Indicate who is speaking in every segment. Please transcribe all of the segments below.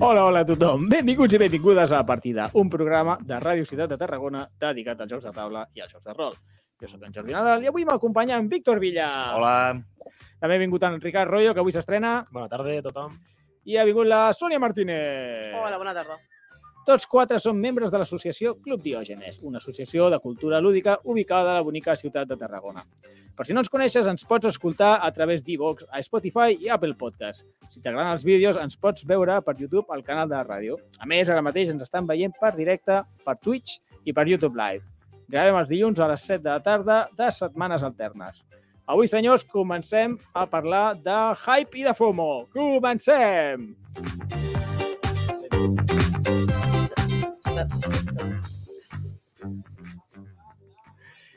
Speaker 1: Hola, hola a tothom. Benvinguts i benvingudes a La Partida, un programa de Ràdio Ciutat de Tarragona dedicat als jocs de taula i als jocs de rol. Jo sóc en Jordi Nadal i avui m'acompanya en Víctor Villa.
Speaker 2: Ah. Hola.
Speaker 1: També ha vingut en Ricard Royo, que avui s'estrena,
Speaker 3: Bona tarda a tothom.
Speaker 1: i ha vingut la Sònia Martínez.
Speaker 4: Hola, bona tarda.
Speaker 1: Tots quatre són membres de l'associació Club Diògenes, una associació de cultura lúdica ubicada a la bonica ciutat de Tarragona. Per si no ens coneixes, ens pots escoltar a través d'Evox, a Spotify i Apple Podcast. Si t'agraden els vídeos, ens pots veure per YouTube al canal de la ràdio. A més, ara mateix ens estan veient per directe, per Twitch i per YouTube Live. Gravem els dilluns a les 7 de la tarda de setmanes alternes. Avui, senyors, comencem a parlar de hype i de FOMO. Comencem!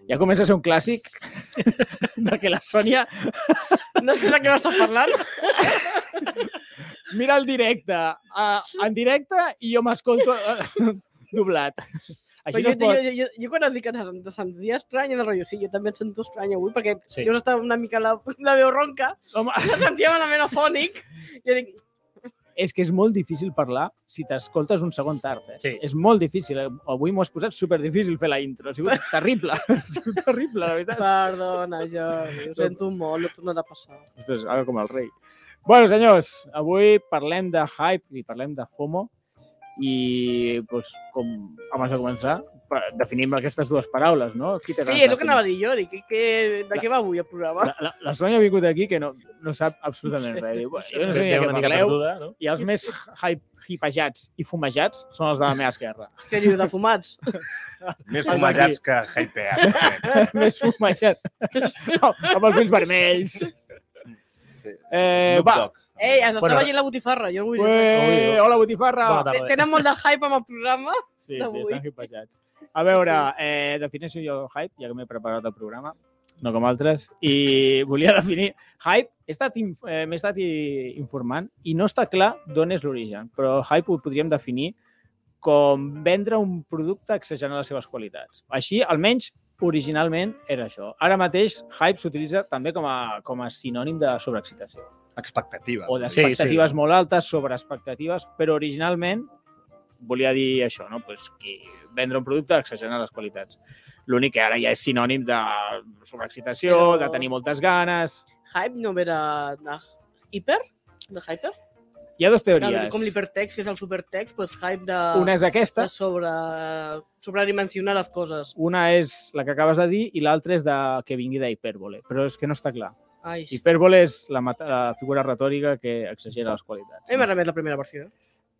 Speaker 1: Ja comença a ser un clàssic de que la Sònia
Speaker 4: No sé de què m'estàs parlant.
Speaker 1: mira el directe, uh, en directe, i jo m'escolto uh, doblat. Així no
Speaker 4: Però jo,
Speaker 1: es
Speaker 4: jo,
Speaker 1: pot...
Speaker 4: jo, jo, jo, quan has dit que te, sen- te sentia estrany, de rotllo, sí, jo també et sento estrany avui, perquè
Speaker 3: Sí.
Speaker 4: sí. jo estava una mica la, la veu ronca,
Speaker 1: Home,
Speaker 4: la sentia malament afònic, i jo dic,
Speaker 1: és que és molt difícil parlar si t'escoltes un segon tard. Eh?
Speaker 3: Sí.
Speaker 1: És molt difícil. eh? Avui m'ho has posat superdifícil fer la intro. Ha sigut terrible. ha sigut terrible, la veritat.
Speaker 4: perdona, Jordi, ho sento molt, no tornarà a passar.
Speaker 1: Ostres, ara com el rei. Bueno, senyors, avui parlem de hype i parlem de FOMO i doncs, com, abans de començar pa- definim aquestes dues paraules, no? Qui té
Speaker 4: Sí, és el que anava a dir jo, dic, que, de què va avui el programa?
Speaker 1: la, la, la Sònia ha vingut aquí que no, no sap absolutament res. Diu, "Bueno, jo no sé ni
Speaker 3: Té
Speaker 1: de què
Speaker 3: una mica
Speaker 1: parleu.
Speaker 3: perduda, no?
Speaker 1: I els més hype, hipejats i fumejats són els de la meva esquerra.
Speaker 4: Que diu, de fumats.
Speaker 2: Més
Speaker 1: Hola,
Speaker 2: fumejats que eh, hypeats.
Speaker 1: més fumejat. No, amb els ulls vermells.
Speaker 2: Sí.
Speaker 1: Eh,
Speaker 2: Snoop
Speaker 1: va.
Speaker 2: Dogg.
Speaker 4: Ei, ens està
Speaker 3: Bueno,
Speaker 4: veient la botifarra, jo no vull dir.
Speaker 1: Ué, hola, botifarra!
Speaker 3: Bona
Speaker 4: res.
Speaker 3: tarda.
Speaker 4: Tenen molt de hype amb el programa.
Speaker 1: Sí, sí,
Speaker 4: d'avui.
Speaker 1: estan hipejats. A veure, eh, defineixo jo hype, ja que m'he preparat el programa, no com altres, i volia definir... Hype, he estat inf- eh, m'he estat i- informant i no està clar d'on és l'origen, però hype ho podríem definir com vendre un producte exagerant les seves qualitats. Així, almenys, originalment era això. Ara mateix, hype s'utilitza també com a, com a sinònim de sobreexcitació
Speaker 2: Expectativa.
Speaker 1: o
Speaker 3: sí.
Speaker 1: d'expectatives sí, sí. molt altes, sobre expectatives, però originalment volia dir això, no? Pues que vendre un producte exagerant les qualitats. L'únic que ara ja és sinònim de sobreexcitació,
Speaker 4: Però-
Speaker 1: de tenir moltes ganes...
Speaker 4: Hype no ve de, de hiper? De hyper?
Speaker 1: Hi ha dues
Speaker 4: Clar,
Speaker 1: teories.
Speaker 4: com l'hipertext, que és el supertext, doncs hype de...
Speaker 1: Una és aquesta,
Speaker 4: de sobre sobredimensionar les coses.
Speaker 1: una és la que acabes de dir i l'altra és de que vingui d'hipèrbole, però és que no està clar.
Speaker 4: Ai, sí.
Speaker 1: Hipèrbole és la, meta, la figura retòrica que exagera les qualitats.
Speaker 4: A mi m'ha remet la primera versió. eh.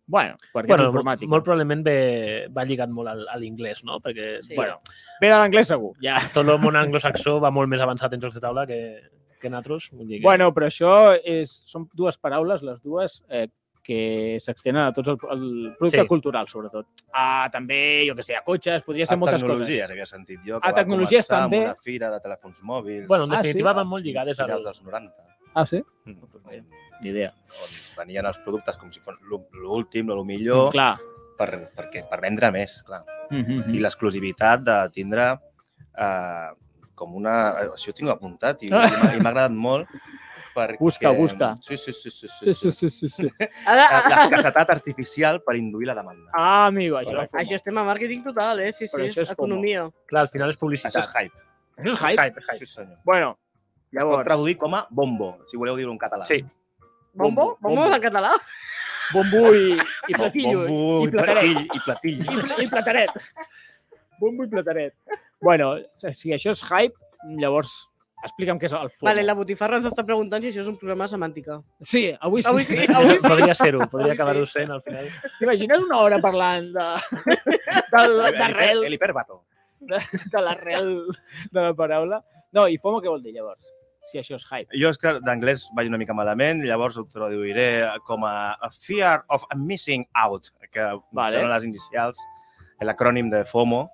Speaker 1: Bueno, perquè
Speaker 3: Bueno,
Speaker 1: és
Speaker 3: molt,
Speaker 1: informàtic.
Speaker 3: molt probablement ve, va lligat molt al, a l'inglès, no? Perquè
Speaker 4: Sí.
Speaker 3: sí.
Speaker 1: Bueno,
Speaker 3: bueno,
Speaker 1: Ve de l'anglès segur, ja.
Speaker 3: tot el món anglosaxó va molt més avançat en jocs de taula que, que nosaltres. Vull dir que...
Speaker 1: Bueno, però això és, són dues paraules, les dues, eh, que s'extenen a tots el, el producte
Speaker 3: Sí.
Speaker 1: sí. cultural, sobretot. A, també, jo que sé, a cotxes, podria ser
Speaker 2: a
Speaker 1: moltes
Speaker 2: tecnologies, havia sentit jo.
Speaker 1: A
Speaker 2: que va
Speaker 1: tecnologies
Speaker 2: començar
Speaker 1: també.
Speaker 2: Amb una fira de telèfons mòbils.
Speaker 3: bueno en
Speaker 1: Ah, sí?
Speaker 3: definitiva van molt lligades al...
Speaker 2: Finals dels 90.
Speaker 1: coses. Ah, sí?
Speaker 2: Mm.
Speaker 1: Ni idea.
Speaker 2: On venien els productes com si fos l'ú- l'últim, el
Speaker 1: Jo...
Speaker 2: millor,
Speaker 1: Mm, Clar.
Speaker 2: per, perquè, per vendre més, clar.
Speaker 1: Mm
Speaker 2: I
Speaker 1: -hmm.
Speaker 2: l'exclusivitat de tindre eh, com una... Això ho tinc apuntat i, i m'ha- i m'ha agradat molt perquè...
Speaker 1: Busca, busca.
Speaker 2: Sí, sí, sí. sí,
Speaker 1: Sí,
Speaker 2: sí,
Speaker 1: sí, sí, sí, sí.
Speaker 4: Ara, ah,
Speaker 2: La-
Speaker 4: ara,
Speaker 2: Eh, L'escassetat artificial per induir la demanda.
Speaker 1: Ah, amigo, això,
Speaker 3: Correcte.
Speaker 4: això estem a màrqueting total, eh? Sí,
Speaker 1: Però
Speaker 4: sí,
Speaker 1: això és FOMO.
Speaker 4: economia.
Speaker 3: Clar, al final és
Speaker 2: Això
Speaker 3: publicitat.
Speaker 2: és hype.
Speaker 1: això és
Speaker 3: Hype,
Speaker 1: hype.
Speaker 3: hype.
Speaker 2: Sí, senyor.
Speaker 1: Bueno,
Speaker 2: Es pot
Speaker 1: llavors,
Speaker 2: traduir com a bombo, si voleu dir-ho en català.
Speaker 3: Sí.
Speaker 4: Bombo?
Speaker 1: Bombo,
Speaker 4: Bombo
Speaker 1: bombo.
Speaker 4: en català?
Speaker 1: bombo i, i platillo. eh?
Speaker 2: bombo
Speaker 1: i
Speaker 2: i
Speaker 1: plataret.
Speaker 2: platill. I platill.
Speaker 1: I, pla- i plataret. Bombo i plataret. Bueno, si això és hype, llavors explica'm què és el fum.
Speaker 4: Vale, la botifarra ens està preguntant si això és un programa de semàntica.
Speaker 1: Sí, avui sí.
Speaker 4: Avui sí, avui Ah, sí.
Speaker 3: Podria ser-ho, podria
Speaker 4: Sí.
Speaker 3: acabar-ho sent al final.
Speaker 1: T'imagines una hora parlant de, del-
Speaker 2: El- el
Speaker 1: d'arrel,
Speaker 2: hiper- El hiperbato.
Speaker 1: de l'arrel de la paraula? No, i FOMO què vol dir, llavors? Si això és hype.
Speaker 2: Jo és que d'anglès vaig una mica malament, llavors ho traduiré com a a fear of missing out, que
Speaker 1: Vale.
Speaker 2: vale. són les inicials, l'acrònim de FOMO,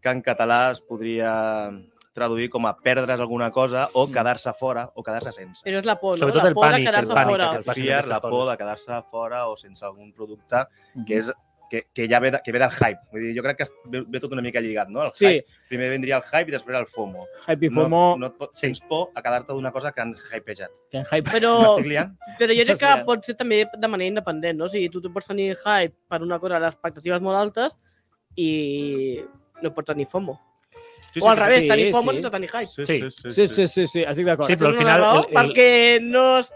Speaker 2: que en català es podria traduir com a perdre's alguna cosa o quedar-se fora o quedar-se sense.
Speaker 4: Però és la por, no?
Speaker 3: Sobretot
Speaker 4: la
Speaker 3: el
Speaker 4: por de
Speaker 3: pànic,
Speaker 4: quedar-se
Speaker 3: el pànic,
Speaker 4: fora.
Speaker 3: el
Speaker 2: el
Speaker 3: passen
Speaker 2: fear,
Speaker 3: aquestes
Speaker 2: la por
Speaker 3: coses.
Speaker 2: de quedar-se fora o sense algun producte, que és que, que ja ve, de, que ve del hype. Vull dir, jo crec que es- ve, ve tot una mica lligat, no? El
Speaker 1: Sí,
Speaker 2: hype. Primer vendria el hype i després el FOMO.
Speaker 1: Hype i FOMO,
Speaker 2: No, no et pot, tens por a quedar-te d'una cosa que han hypejat.
Speaker 1: que en Hype...
Speaker 4: Però,
Speaker 2: M'estic liant?
Speaker 4: però jo crec que
Speaker 1: Estàs liant.
Speaker 4: pot ser també de manera independent, no? O sigui, tu, tu pots tenir hype per una cosa, les expectatives molt altes, i no pots tenir FOMO.
Speaker 2: Sí,
Speaker 4: o al
Speaker 1: sí,
Speaker 4: revés,
Speaker 1: sí,
Speaker 4: tenir
Speaker 1: sí.
Speaker 4: FOMO sense tenir hype.
Speaker 2: Sí, sí,
Speaker 3: Sí.
Speaker 2: sí.
Speaker 1: Sí, sí, sí, sí, estic d'acord.
Speaker 3: Sí, però al
Speaker 4: Tens una
Speaker 3: final,
Speaker 4: raó
Speaker 3: el- el-
Speaker 4: Perquè no... es-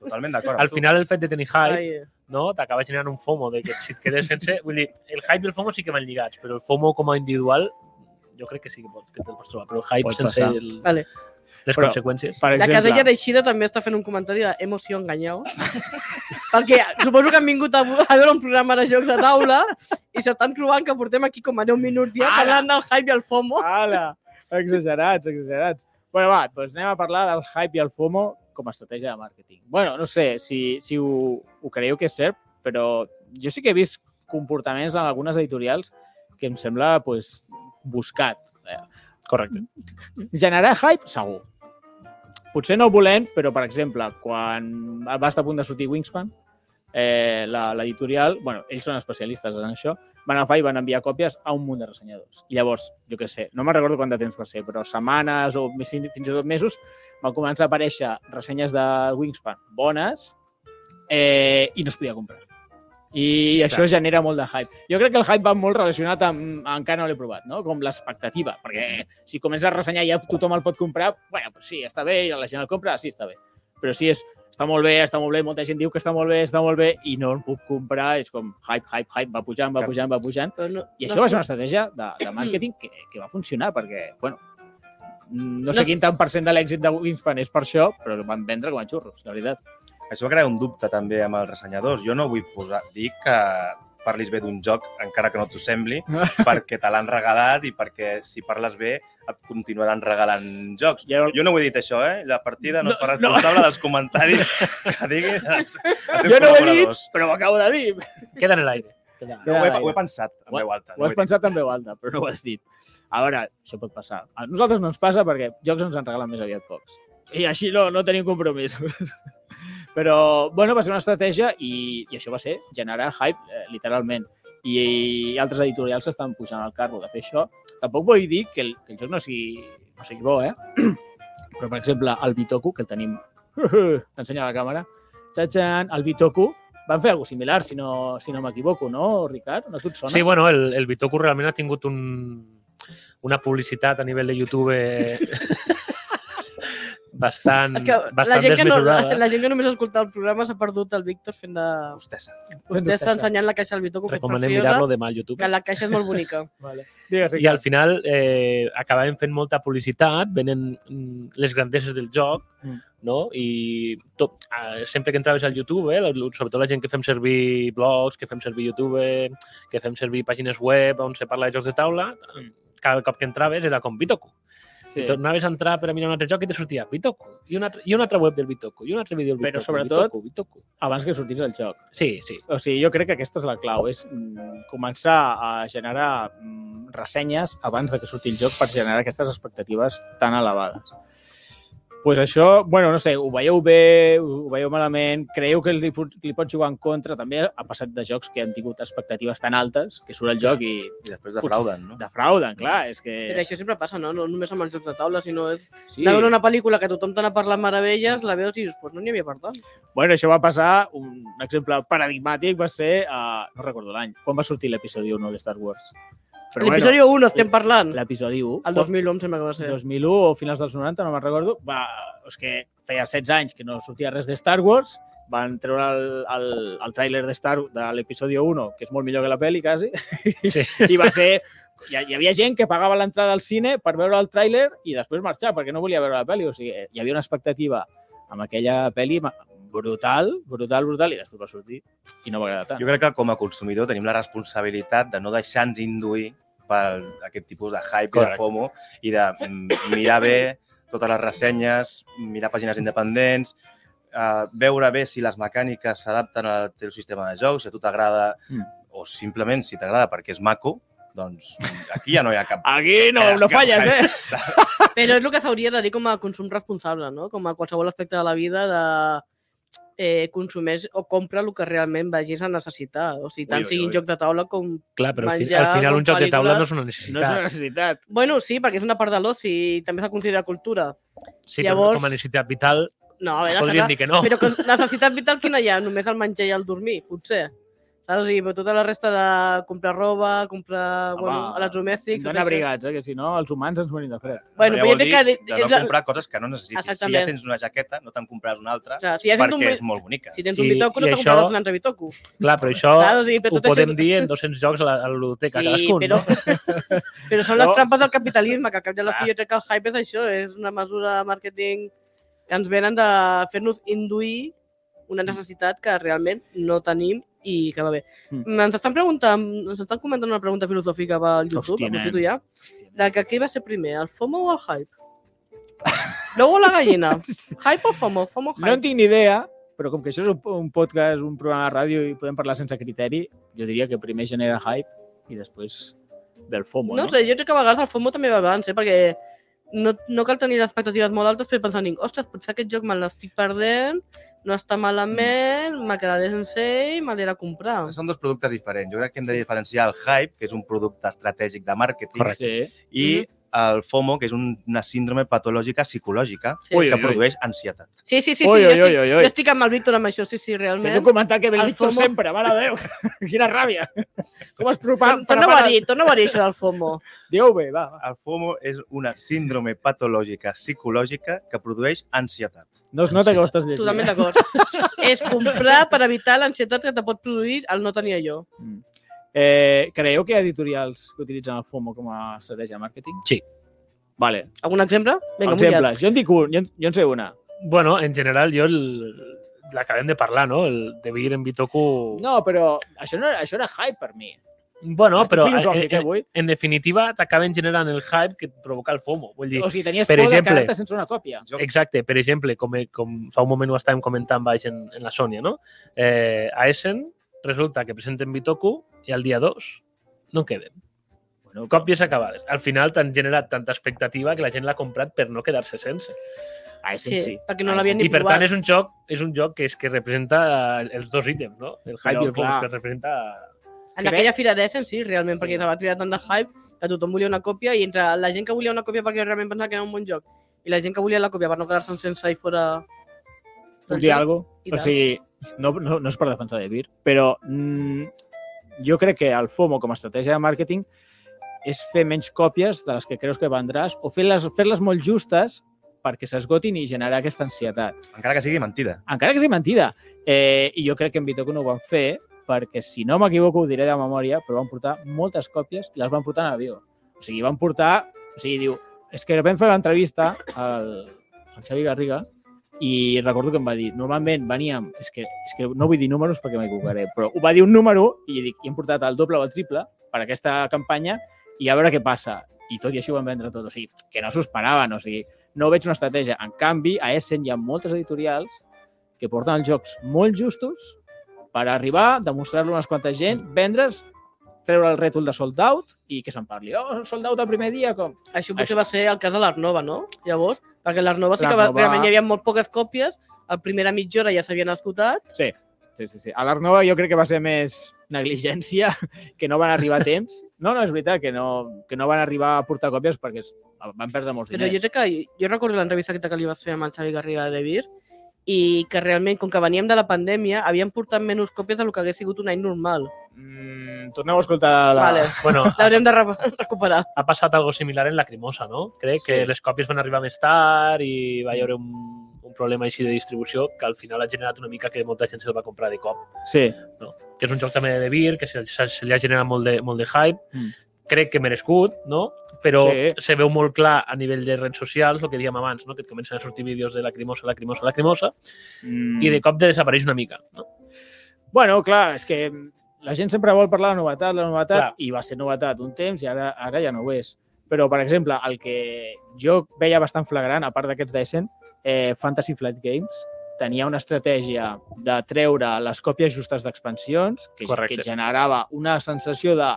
Speaker 2: Totalment d'acord. amb
Speaker 3: Al
Speaker 2: tu.
Speaker 3: final el fet de tenir hype
Speaker 4: Ai,
Speaker 3: no? t'acaba generant un FOMO, de que si et quedes sense... Vull dir, el hype i el FOMO sí que van lligats, però el FOMO com a individual jo crec que sí que, pot, que te'l pots trobar, però el hype
Speaker 1: Pot
Speaker 3: pot sense
Speaker 1: passar.
Speaker 3: el,
Speaker 4: Vale.
Speaker 3: les
Speaker 1: Però-
Speaker 3: conseqüències.
Speaker 1: Per
Speaker 4: La
Speaker 1: exemple,
Speaker 4: casella de Xira també està fent un comentari de emoció enganyau. perquè suposo que han vingut a, a veure un programa de jocs de taula i s'estan trobant que portem aquí com a 10 minuts ja
Speaker 1: Ara!
Speaker 4: parlant del hype i el FOMO.
Speaker 1: Ala! Exagerats, exagerats. Bueno, va, doncs anem a parlar del hype i el FOMO com a estratègia de màrqueting. Bueno, no sé si, si ho, ho creieu que és cert, però jo sí que he vist comportaments en algunes editorials que em sembla pues, buscat.
Speaker 3: Correcte.
Speaker 1: Generar hype, segur. Potser no volent, però, per exemple, quan va estar a punt de sortir Wingspan, eh, la- l'editorial, bueno, ells són especialistes en això, van agafar i van enviar còpies a un munt de ressenyadors. Llavors, jo què sé, no me'n recordo quant de temps va ser, però setmanes o més- fins i tot mesos van començar a aparèixer ressenyes de Wingspan bones eh, i no es podia comprar. I això genera molt de hype. Jo crec que el hype va molt relacionat amb, encara no l'he provat, no? com l'expectativa, perquè si comences a ressenyar i ja tothom el pot comprar, bueno, pues sí, està bé, i la gent el compra, sí, està bé. Però si és està molt bé, està molt bé, molta gent diu que està molt bé, està molt bé, i no el puc comprar, és com hype, hype, hype, va pujant, va
Speaker 2: Clar.
Speaker 1: pujant, va pujant,
Speaker 4: Però no,
Speaker 1: i
Speaker 4: no
Speaker 1: això va
Speaker 4: es-
Speaker 1: ser una estratègia de, de màrqueting que, que va funcionar, perquè, bueno, no sé
Speaker 4: No-
Speaker 1: quin tant per cent de l'èxit de Wingspan és per això, però que van vendre com a xurros, la veritat.
Speaker 2: Això va crear un dubte també amb els ressenyadors. Jo no vull posar, dir que parlis bé d'un joc, encara que no t'ho sembli, perquè te l'han regalat i perquè si parles bé et continuaran regalant jocs.
Speaker 1: I ara-
Speaker 2: Jo no ho he dit això, eh? La partida no, es
Speaker 1: No,
Speaker 2: fa
Speaker 1: no.
Speaker 2: responsable dels comentaris que diguin els, els seus
Speaker 1: jo no ho he dit,
Speaker 2: col·laboradors.
Speaker 1: però ho acabo de dir.
Speaker 3: Queda en l'aire. Queda...
Speaker 2: No, ho, he,
Speaker 1: Ai.
Speaker 2: ho he pensat en
Speaker 1: Ho-
Speaker 2: veu alta.
Speaker 1: Ho
Speaker 2: No
Speaker 1: has pensat també, Valda, però no ho has dit. A veure, això pot passar. A nosaltres no ens passa perquè jocs ens en regalen més aviat pocs. I així no, no tenim compromís. però, bueno, va ser una estratègia i, i això va ser generar hype, eh, literalment. I, altres editorials s'estan pujant al carro de fer això. Tampoc vull dir que el, que el joc no sigui, no sigui bo, eh? Però, per exemple, el Bitoku, que el tenim... T'ensenya la càmera. Txatxan, el Bitoku, van fer alguna cosa similar, si no, si no m'equivoco, no, Ricard? No tu et sona?
Speaker 3: Sí, bueno, el, el Bitoku realment ha tingut un, una publicitat a nivell de YouTube eh, bastant,
Speaker 4: És que la
Speaker 3: bastant
Speaker 4: gent que, no,
Speaker 3: desmesurada.
Speaker 4: la gent que només ha escoltat el programa s'ha perdut el Víctor fent de...
Speaker 2: Hostessa.
Speaker 4: Vostè està ensenyant la caixa del Bitoco, que és
Speaker 3: Recomanem
Speaker 4: preciosa,
Speaker 3: mirar-lo demà al YouTube.
Speaker 4: que la caixa és molt bonica.
Speaker 1: Vale. Digues,
Speaker 3: I al
Speaker 1: Ricard.
Speaker 3: final eh, acabàvem fent molta publicitat, venen mm, les grandeses del joc,
Speaker 1: Mm.
Speaker 3: no? I tot, eh, sempre que entraves al YouTube, eh, la- sobretot la gent que fem servir blogs, que fem servir YouTube, que fem servir pàgines web on se parla de jocs de taula, cada cop que entraves era com Bitoku.
Speaker 1: Sí.
Speaker 3: I tornaves a entrar per a mirar un altre joc i te sortia Bitoku, i una, altra- i una altra web del Bitoku, i un altre vídeo del
Speaker 1: Però
Speaker 3: Bitoku,
Speaker 1: sobretot-
Speaker 3: Bitoku, Bitoku.
Speaker 1: Abans que sortís el joc.
Speaker 3: Sí, sí.
Speaker 1: O sigui, jo crec que aquesta és la clau, és mm, començar a generar mm, ressenyes abans de que surti el joc per generar aquestes expectatives tan elevades. pues això, bueno, no sé, ho veieu bé, ho veieu malament, creieu que li, pot- li pot jugar en contra, també ha passat de jocs que han tingut expectatives tan altes que surt el joc i
Speaker 2: I després defrauden, no?
Speaker 1: defrauden, clar, és que...
Speaker 3: Eh.
Speaker 4: Però això sempre passa, no? No només amb els jocs de taula, sinó és
Speaker 1: sí.
Speaker 4: anar a veure una pel·lícula que tothom te n'ha parlat meravelles, la veus i dius, pues no n'hi havia per tant.
Speaker 1: Bueno, això va passar, un, un exemple paradigmàtic va ser, uh, no recordo l'any, quan va sortir l'episodi 1 de Star Wars? Però
Speaker 4: L'episodi 1
Speaker 2: eh,
Speaker 4: estem parlant.
Speaker 1: bueno, l'episodi 1,
Speaker 2: Oh.
Speaker 4: El 2011 sembla que va ser.
Speaker 1: 2001 o finals dels 90, no me'n recordo, va, és que feia 16 anys que no sortia res de Star Wars, van treure el, el, el tràiler de, Star, de l'episodi 1, que és molt millor que la pel·li, quasi,
Speaker 3: Sí.
Speaker 1: i va ser... Hi, ha- hi havia gent que pagava l'entrada al cine per veure el tràiler i després marxar, perquè no volia veure la pel·li. O sigui, hi havia una expectativa amb aquella pel·li ma- brutal, brutal, brutal, i després va sortir i no va agradar tant.
Speaker 2: Jo crec que com a consumidor tenim la responsabilitat de no deixar-nos induir per aquest tipus de hype Correcte. i de
Speaker 3: Correcte.
Speaker 2: FOMO i de mm, mirar bé totes les ressenyes, mirar pàgines independents, eh, veure bé si les mecàniques s'adapten al teu sistema de joc, si a tu t'agrada
Speaker 1: Mm.
Speaker 2: mm. o simplement si t'agrada perquè és maco, doncs aquí ja no hi ha cap...
Speaker 1: Aquí Ah, no, no falles, eh?
Speaker 4: Però és el que s'hauria de dir com a consum responsable, no? Com a qualsevol aspecte de la vida de eh, consumeix o compra el que realment vagis a necessitar. O sigui, tant
Speaker 2: Ui, ui,
Speaker 4: siguin
Speaker 2: ui.
Speaker 4: joc de taula com...
Speaker 3: Clar, però al fi-
Speaker 4: Menjar,
Speaker 3: al final un joc de taula
Speaker 4: pel·lícules.
Speaker 3: no és una
Speaker 1: No és
Speaker 3: necessitat.
Speaker 1: una necessitat.
Speaker 4: Bueno, sí, perquè és una part de l'oci i també s'ha considerat cultura.
Speaker 3: Sí,
Speaker 4: Llavors-
Speaker 3: però com a necessitat vital
Speaker 4: No, a veure,
Speaker 3: podríem
Speaker 4: serà...
Speaker 3: dir que no.
Speaker 4: Però que necessitat vital quina hi ha? Només el menjar i el dormir, potser. Saps? O sigui, però tota la resta de comprar roba, comprar
Speaker 1: Home,
Speaker 4: bueno, electrodomèstics... tot
Speaker 1: Donar
Speaker 4: això.
Speaker 1: abrigats, eh? que si no els humans ens morim de fred.
Speaker 4: Bueno,
Speaker 2: Però ja
Speaker 4: però jo crec que...
Speaker 2: vol dir de
Speaker 4: és
Speaker 2: no
Speaker 4: la-
Speaker 2: comprar coses que no necessitis. Si
Speaker 4: Exactament.
Speaker 2: ja tens una jaqueta, no te'n compraràs una altra,
Speaker 4: o sigui, si has
Speaker 2: perquè
Speaker 4: fet un...
Speaker 2: és molt bonica.
Speaker 4: Si tens un
Speaker 3: I-
Speaker 4: bitoco,
Speaker 3: i
Speaker 4: no te
Speaker 3: això-
Speaker 4: compraràs un altre bitoco.
Speaker 3: Clar, però això
Speaker 4: Saps? O sigui, però
Speaker 3: ho
Speaker 4: tot
Speaker 3: podem
Speaker 4: això...
Speaker 3: dir en 200 jocs a la, a la biblioteca
Speaker 4: Sí,
Speaker 3: cadascun.
Speaker 4: però,
Speaker 3: No? Ah.
Speaker 4: però són les
Speaker 1: No.
Speaker 4: trampes del capitalisme, que al cap de la fi jo crec que el hype és això, és una mesura de màrqueting que ens venen de fer-nos induir una necessitat que realment no tenim i que va bé.
Speaker 1: Mm.
Speaker 4: Ens estan preguntant, ens estan comentant una pregunta filosòfica pel YouTube,
Speaker 1: Hòstia,
Speaker 4: Hòstia,
Speaker 1: nen.
Speaker 4: aprofito ja, de que què va ser primer, el FOMO o el hype? L'ou o la gallina? Hype o FOMO? FOMO o
Speaker 1: No en
Speaker 4: hype?
Speaker 1: tinc ni idea, però com que això és un, un podcast, un programa de ràdio i podem parlar sense criteri, jo diria que primer genera hype i després del FOMO, no?
Speaker 4: No sé, jo crec que a vegades el FOMO també va abans, eh? perquè no, no cal tenir les expectatives molt altes per pensar, ostres, potser aquest joc me l'estic perdent, no està malament, me quedaré sense ell, me l'he de comprar.
Speaker 2: Són dos productes diferents. Jo crec que hem de diferenciar el hype, que és un producte estratègic de màrqueting,
Speaker 1: Sí.
Speaker 2: i el FOMO, que és una síndrome patològica psicològica
Speaker 4: Sí.
Speaker 3: Ui,
Speaker 2: que produeix ansietat.
Speaker 4: Sí, sí, sí, sí,
Speaker 1: Ui,
Speaker 4: jo,
Speaker 1: ui,
Speaker 4: estic,
Speaker 1: ui, ui,
Speaker 4: jo
Speaker 1: ui.
Speaker 4: estic amb el Víctor amb això, sí, sí,
Speaker 1: Que t'ho
Speaker 4: realment.
Speaker 1: comentat que ve el
Speaker 4: El
Speaker 1: Víctor
Speaker 4: FOMO.
Speaker 1: sempre, mare de Déu. Quina ràbia. Com es prepara?
Speaker 4: Torna-ho a dir, torna-ho a dir això del FOMO.
Speaker 1: Dieu bé, va. va.
Speaker 2: El FOMO és una síndrome patològica psicològica que produeix ansietat.
Speaker 1: No es nota que ho estàs llegint.
Speaker 4: Totalment d'acord. És comprar per evitar l'ansietat que te pot produir el no tenir allò.
Speaker 1: Mm. Eh, creieu que hi ha editorials que utilitzen el FOMO com a estratègia de màrqueting?
Speaker 3: Sí.
Speaker 1: Vale.
Speaker 4: Algun exemple? Vinga,
Speaker 1: Exemple,
Speaker 4: mullat.
Speaker 1: jo en dic un, jo en, jo en sé una.
Speaker 3: Bueno, en general, jo el- l'acabem de parlar, no? El de Vir en Bitoku...
Speaker 1: No, però això, no, això era hype per mi.
Speaker 3: Bueno,
Speaker 1: Estic
Speaker 3: però en,
Speaker 1: filosòfic, eh,
Speaker 3: en,
Speaker 1: avui.
Speaker 3: en definitiva t'acaben generant el hype que et provoca el FOMO. Vull dir,
Speaker 1: O sigui, tenies
Speaker 3: per
Speaker 1: por de
Speaker 3: exemple-
Speaker 1: quedar-te sense una còpia.
Speaker 2: Jo,
Speaker 3: Exacte, per exemple, com, com fa un moment ho estàvem comentant baix en, en la Sònia, no? Eh, a Essen resulta que presenten Bitoku i al dia 2 no en queden.
Speaker 1: Bueno,
Speaker 3: Còpies acabades. Al final t'han generat tanta expectativa que la gent l'ha comprat per no quedar-se sense.
Speaker 1: Ah, sí,
Speaker 4: Sí,
Speaker 1: sí.
Speaker 4: perquè no l'havien
Speaker 1: Ni
Speaker 3: I per
Speaker 4: provat.
Speaker 3: tant és un joc, és un joc que, és que representa els dos ítems, no? El hype
Speaker 1: Però,
Speaker 3: i el focus,
Speaker 1: clar.
Speaker 3: que representa...
Speaker 4: En
Speaker 1: Crec-
Speaker 4: aquella fira d'Essen, sí, realment,
Speaker 1: Sí.
Speaker 4: perquè se va crear tant de hype que tothom volia una còpia i entre la gent que volia una còpia perquè realment pensava que era un bon joc i la gent que volia la còpia per no quedar-se sense i fora... doncs
Speaker 1: Puc dir alguna
Speaker 4: I
Speaker 1: cosa? O
Speaker 4: tant.
Speaker 1: sigui, no, no, no és per defensar de Vir, però mm, jo crec que el FOMO com a estratègia de màrqueting és fer menys còpies de les que creus que vendràs o fer-les fer molt justes perquè s'esgotin i generar aquesta ansietat.
Speaker 2: encara que sigui mentida.
Speaker 1: encara que sigui mentida. Eh, I jo crec que en Bitoku no ho van fer perquè, si no m'equivoco, ho diré de memòria, però van portar moltes còpies i les van portar en avió. O sigui, van portar... O sigui, diu... És que vam fer l'entrevista al, al Xavi Garriga i recordo que em va dir, normalment veníem... És que, és que no vull dir números perquè m'equivocaré, però ho va dir un número i dic, i hem portat el doble o el triple per aquesta campanya i a veure què passa. I tot i així ho van vendre tot. O sigui, que no s'ho esperaven. O sigui, no veig una estratègia. En canvi, a Essen hi ha moltes editorials que porten els jocs molt justos per arribar, demostrar-lo a unes quantes gent, vendre's, treure el rètol de sold out i que se'n parli. Oh, sold out el primer dia, com...
Speaker 4: Això potser
Speaker 1: Això-
Speaker 4: va ser el cas de l'Arnova, no? Llavors, perquè l'Arnova sí que va,
Speaker 1: L'Arnova-
Speaker 4: realment hi havia molt poques còpies, a primera mitja hora ja s'havien esgotat,
Speaker 1: Sí, sí, sí. A l'Arnova jo crec que va ser més negligència, que no van arribar a temps. No, no, és veritat, que no, que no van arribar a portar còpies perquè es- van perdre molts
Speaker 4: però jo
Speaker 1: diners.
Speaker 4: crec que... Jo recordo l'entrevista aquesta que li vas fer amb el Xavi Garriga de Vir i que realment, com que veníem de la pandèmia, havien portat menys còpies del que hagués sigut un any normal.
Speaker 1: Mm, torneu a escoltar la...
Speaker 4: Vale,
Speaker 3: Bueno, ha,
Speaker 4: l'haurem de re- recuperar.
Speaker 3: ha passat algo similar en la Crimosa, no? Crec
Speaker 1: Sí.
Speaker 3: que les còpies van arribar més tard i va haver un, un problema així de distribució que al final ha generat una mica que molta gent se'l va comprar de cop.
Speaker 1: Sí.
Speaker 3: que és un joc també de Vir, que se, se, se li ha generat molt de, molt de hype.
Speaker 1: Mm.
Speaker 3: Crec que merescut, no? Però
Speaker 1: Sí.
Speaker 3: sí. se veu molt clar a nivell de redes socials, el que dèiem abans, no? que et comencen a sortir vídeos de lacrimosa, lacrimosa, lacrimosa,
Speaker 1: Mm.
Speaker 3: mm. i de cop de desapareix una mica. No?
Speaker 1: Bueno, clar, és que la gent sempre vol parlar de novetat, la novetat,
Speaker 3: Clar.
Speaker 1: clar. i va ser novetat un temps i ara, ara ja no ho és. Però, per exemple, el que jo veia bastant flagrant, a part d'aquests d'Essen, eh, Fantasy Flight Games tenia una estratègia de treure les còpies justes d'expansions, que,
Speaker 3: Correcte.
Speaker 1: que generava una sensació de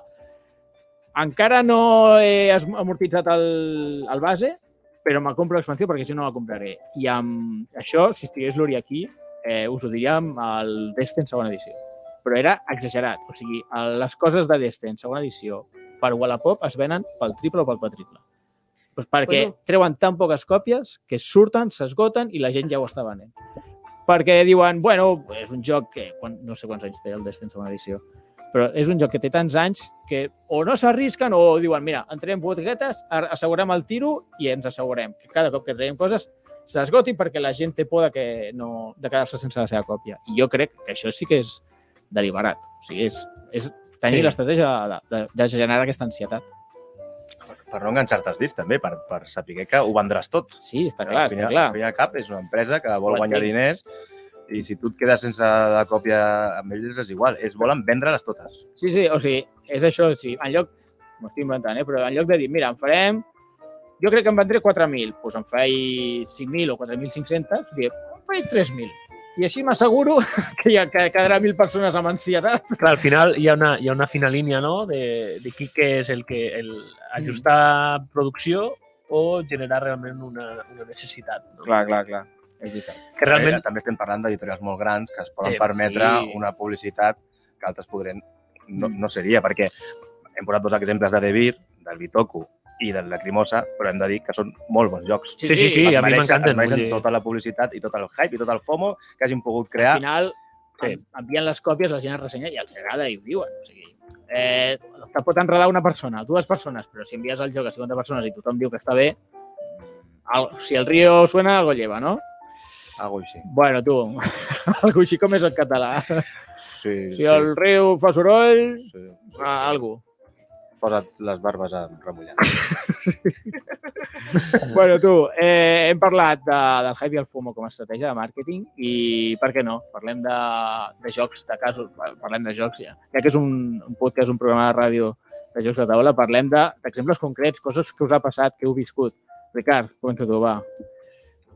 Speaker 1: encara no he es- amortitzat el, el base, però me compro l'expansió perquè si no la compraré. I amb això, si estigués l'Uri aquí, eh, us ho diríem al Destiny segona edició. Però era exagerat. O sigui, el- les coses de Destiny segona edició per Wallapop es venen pel triple o pel quadriple. Pues perquè
Speaker 4: Bueno.
Speaker 1: treuen tan poques còpies que surten, s'esgoten i la gent ja ho està venent. Perquè diuen, bueno, és un joc que... quan- No sé quants anys té el Destiny segona edició. Però és un joc que té tants anys que o no s'arrisquen o diuen, mira, entrem botiguetes, a- assegurem el tiro i ens assegurem que cada cop que traiem coses s'esgoti perquè la gent té por de, que no, de quedar-se sense la seva còpia. I jo crec que això sí que és deliberat. O sigui, és, és tenir
Speaker 3: Sí.
Speaker 1: sí. l'estratègia de, de, de generar aquesta ansietat.
Speaker 2: Per no enganxar-te els dits, també, per, per saber que ho vendràs tot.
Speaker 1: Sí, està clar,
Speaker 2: al final,
Speaker 1: està clar.
Speaker 2: Al final cap és una empresa que vol
Speaker 3: Ho
Speaker 2: guanyar
Speaker 3: entenc.
Speaker 2: diners i si tu et quedes sense la còpia amb ells és igual. Ells volen vendre-les totes.
Speaker 1: Sí, sí, o sigui, és això. O sigui, en lloc, m'ho estic inventant, eh? però en lloc de dir, mira, en farem... Jo crec que en vendré 4.000, doncs en faig 5.000 o 4.500, diré, en faig 3.000. I així m'asseguro que hi ha, que quedarà 1.000 persones amb ansietat.
Speaker 3: Clar, al final hi ha una, hi ha una fina línia, no?, de, de qui que és el que el ajustar producció o generar realment una, una necessitat. No?
Speaker 1: Clar, clar, clar. És veritat.
Speaker 3: Que realment
Speaker 2: Eh, També, també estem parlant d'editorials molt grans que es poden
Speaker 3: Eh,
Speaker 2: permetre
Speaker 3: sí. Mm.
Speaker 2: una publicitat que altres podrien... No, no seria, perquè hem posat dos exemples de Devir, del Bitoku i del Lacrimosa, però hem de dir que són molt bons jocs.
Speaker 3: Sí, sí, sí,
Speaker 2: Es
Speaker 3: a mi
Speaker 2: mereixen-
Speaker 3: m'encanten,
Speaker 2: Es mereixen
Speaker 3: vull dir-
Speaker 2: tota la publicitat i tot el hype i tot el FOMO que hagin pogut crear.
Speaker 1: al final
Speaker 3: Sí.
Speaker 1: sí. envien les còpies, la gent les ressenya i els agrada i ho diuen. O sigui, eh, te pot enredar una persona, dues persones, però si envies el joc a 50 persones i tothom diu que està bé, mm, al, si el río suena, algo lleva, no?
Speaker 2: Algo així.
Speaker 1: Bueno, tu, algo així com és el català.
Speaker 2: Sí,
Speaker 1: Si el riu fa soroll,
Speaker 2: sí, sí, sí.
Speaker 1: ah, algo.
Speaker 2: Posa't les barbes a remullar.
Speaker 1: Bueno, tu, eh, hem parlat de, del hype i el fumo com a estratègia de màrqueting i, per què no, parlem de, de jocs, de casos, par- parlem de jocs ja. Ja que és un, un podcast, un programa de ràdio de jocs de taula, parlem de- d'exemples concrets, coses que us ha passat, que heu viscut. Ricard, comença tu, va.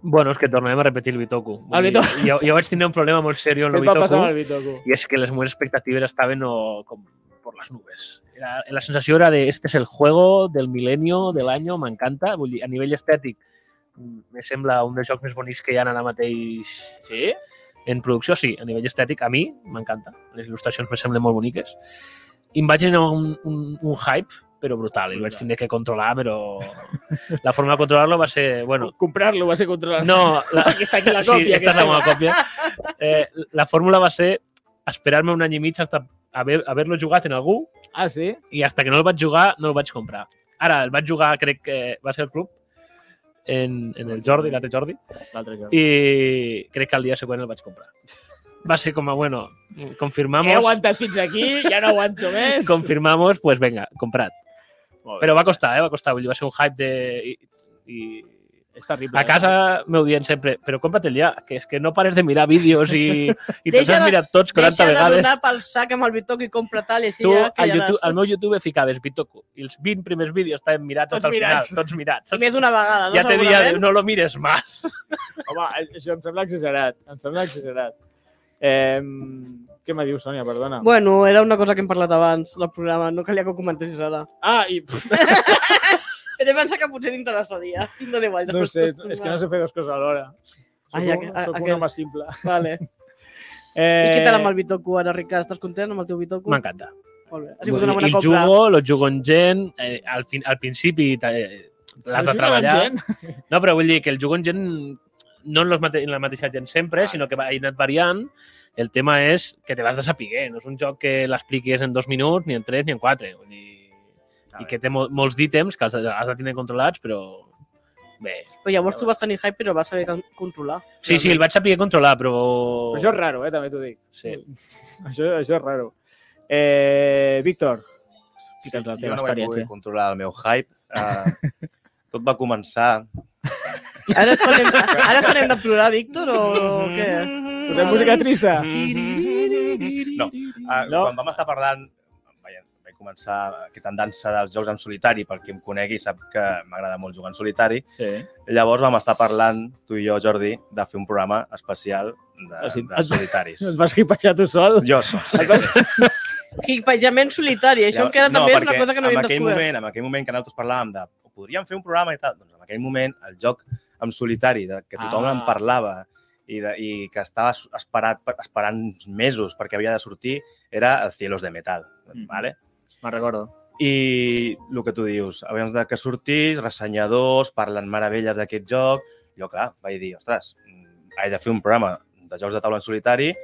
Speaker 3: Bueno, és que tornem a repetir el Bitoku. Vull
Speaker 1: El
Speaker 3: dir,
Speaker 1: Bitoku.
Speaker 3: Jo, jo vaig tenir un problema molt seriós
Speaker 1: Què
Speaker 3: amb el
Speaker 1: et va passar amb
Speaker 3: Bitoku
Speaker 1: el Bitoku?
Speaker 3: i és que les meves expectatives estaven o, com por las nubes. Era, la sensació era de este es el juego del milenio, del año, m'encanta. Vull dir, a nivell estètic mm, me sembla un dels jocs més bonics que hi ha ara mateix
Speaker 1: Sí?
Speaker 3: en producció, sí, a nivell estètic, a mi m'encanta. Les il·lustracions me semblen molt boniques. I em vaig generar un, un, un hype, però brutal. I el vaig
Speaker 1: Brutal.
Speaker 3: tindre que controlar, però... La forma de controlar-lo va ser... Bueno,
Speaker 1: Comprar-lo va ser controlar.
Speaker 3: no, la,
Speaker 1: Aquí està aquí la
Speaker 3: sí,
Speaker 1: còpia.
Speaker 3: esta és la meva còpia. Eh, la fórmula va ser esperar-me un any i mig hasta haver- haver-lo jugat en algú
Speaker 1: Ah, sí?
Speaker 3: i hasta que no el vaig jugar no el vaig comprar. Ara, el vaig jugar, crec que va ser el club, en, en el Jordi, l'altre Jordi,
Speaker 1: L'altre joc.
Speaker 3: i crec que el dia següent el vaig comprar. Va ser com a, bueno, confirmamos,
Speaker 1: He aguantat fins aquí, ja no aguanto més.
Speaker 3: confirmamos, pues venga, comprat.
Speaker 1: Molt bé.
Speaker 3: Però va costar, eh? va costar, vull dir, va ser un hype de... I, i
Speaker 1: És terrible. eh?
Speaker 3: A casa m'ho dient sempre, però cómprat'l ja, que és que no pares de mirar vídeos i, i te'ls
Speaker 4: Deixa
Speaker 3: has
Speaker 4: de-
Speaker 3: mirat tots 40
Speaker 4: Deixa de
Speaker 3: vegades.
Speaker 4: donar pel sac amb el Bitoc i compra tal i així
Speaker 3: Tu,
Speaker 4: ja
Speaker 3: al, YouTube,
Speaker 4: callaràs.
Speaker 3: al meu YouTube ficaves Bitoku i els 20 primers vídeos estaven mirats
Speaker 1: Tots
Speaker 3: hasta el final,
Speaker 1: mirats.
Speaker 3: tots mirats.
Speaker 4: I més una vegada, no?
Speaker 3: ja te dia,
Speaker 4: Segurament.
Speaker 3: no lo mires más.
Speaker 1: Home, això em sembla exagerat. Em sembla exagerat. Eh, què me dius, Sònia? Perdona.
Speaker 4: Bueno, era una cosa que hem parlat abans, del programa. No calia que ho comentessis ara.
Speaker 1: Ah, i pff,
Speaker 4: Però pensar que potser t'interessaria. No n'he guai. doncs, de
Speaker 1: no ho sé,
Speaker 4: fer-ho.
Speaker 1: és que no sé fer dues coses alhora. Soc, Ai,
Speaker 4: Ai,
Speaker 1: un,
Speaker 4: aqu- a-
Speaker 1: soc
Speaker 4: aquel-
Speaker 1: un home simple.
Speaker 4: Vale.
Speaker 1: Eh,
Speaker 4: I què tal amb el Bitoku ara, Ricard? Estàs content amb el teu Bitoku?
Speaker 3: M'encanta.
Speaker 4: Molt bé. Ha sigut una
Speaker 3: I
Speaker 4: bona
Speaker 3: el
Speaker 4: compra.
Speaker 3: jugo, lo jugo en gent, eh, al, fin, al principi eh, l'has de treballar.
Speaker 1: Gent?
Speaker 3: No, però vull dir que el jugo en gent no en, los mate en la mateixa gent sempre,
Speaker 1: Ah.
Speaker 3: sinó que va he anat variant. El tema és que te l'has de saber, no és un joc que l'expliquis en dos minuts, ni en tres, ni en quatre. Vull dir,
Speaker 1: Està
Speaker 3: I
Speaker 1: bé.
Speaker 3: que té mol molts ítems que els has de tenir controlats, però bé.
Speaker 4: Però llavors tu vas tenir hype, però vas saber con- controlar.
Speaker 3: Sí, sí, el vaig saber controlar, però...
Speaker 1: Però això és raro, eh, també t'ho dic.
Speaker 3: Sí.
Speaker 1: Això, això és raro. Eh, Víctor, explica'ns la
Speaker 2: jo
Speaker 1: teva
Speaker 2: no vaig poder
Speaker 1: experiència.
Speaker 2: controlar el meu hype. Uh, tot va començar...
Speaker 4: Ara és quan hem, ara és quan hem de plorar, Víctor, o, o què?
Speaker 1: Oh, Posem música trista?
Speaker 3: Mm-hmm.
Speaker 2: No, Ah,
Speaker 1: No.
Speaker 2: no. Quan vam estar parlant, vaja, vaig començar aquesta dansa dels jocs en solitari, pel qui em conegui sap que m'agrada molt jugar en solitari.
Speaker 1: Sí.
Speaker 2: Llavors vam estar parlant, tu i jo, Jordi, de fer un programa especial de,
Speaker 1: Ah, sí.
Speaker 2: de solitaris.
Speaker 1: Et vas hipejar tu sol?
Speaker 2: Jo sol, sí.
Speaker 1: Et vas...
Speaker 4: Hipejament solitari. Això
Speaker 2: Llavors-
Speaker 4: encara també és una
Speaker 2: perquè
Speaker 4: cosa que no
Speaker 2: en
Speaker 4: havíem
Speaker 2: aquell
Speaker 4: descobert.
Speaker 2: moment, En aquell moment que nosaltres parlàvem de podríem fer un programa i tal, doncs en aquell moment el joc en solitari, de, que tothom
Speaker 1: Ah.
Speaker 2: en parlava i, de, i que estava s- esperat, per- esperant mesos perquè havia de sortir era el Cielos de Metal.
Speaker 4: Mm-hmm.
Speaker 1: Mm.
Speaker 2: Vale?
Speaker 1: me'n recordo.
Speaker 2: I el que tu dius, abans de que sortís, ressenyadors, parlen meravelles d'aquest joc. Jo, clar, vaig dir, ostres, mm, he de fer un programa de jocs de taula en solitari,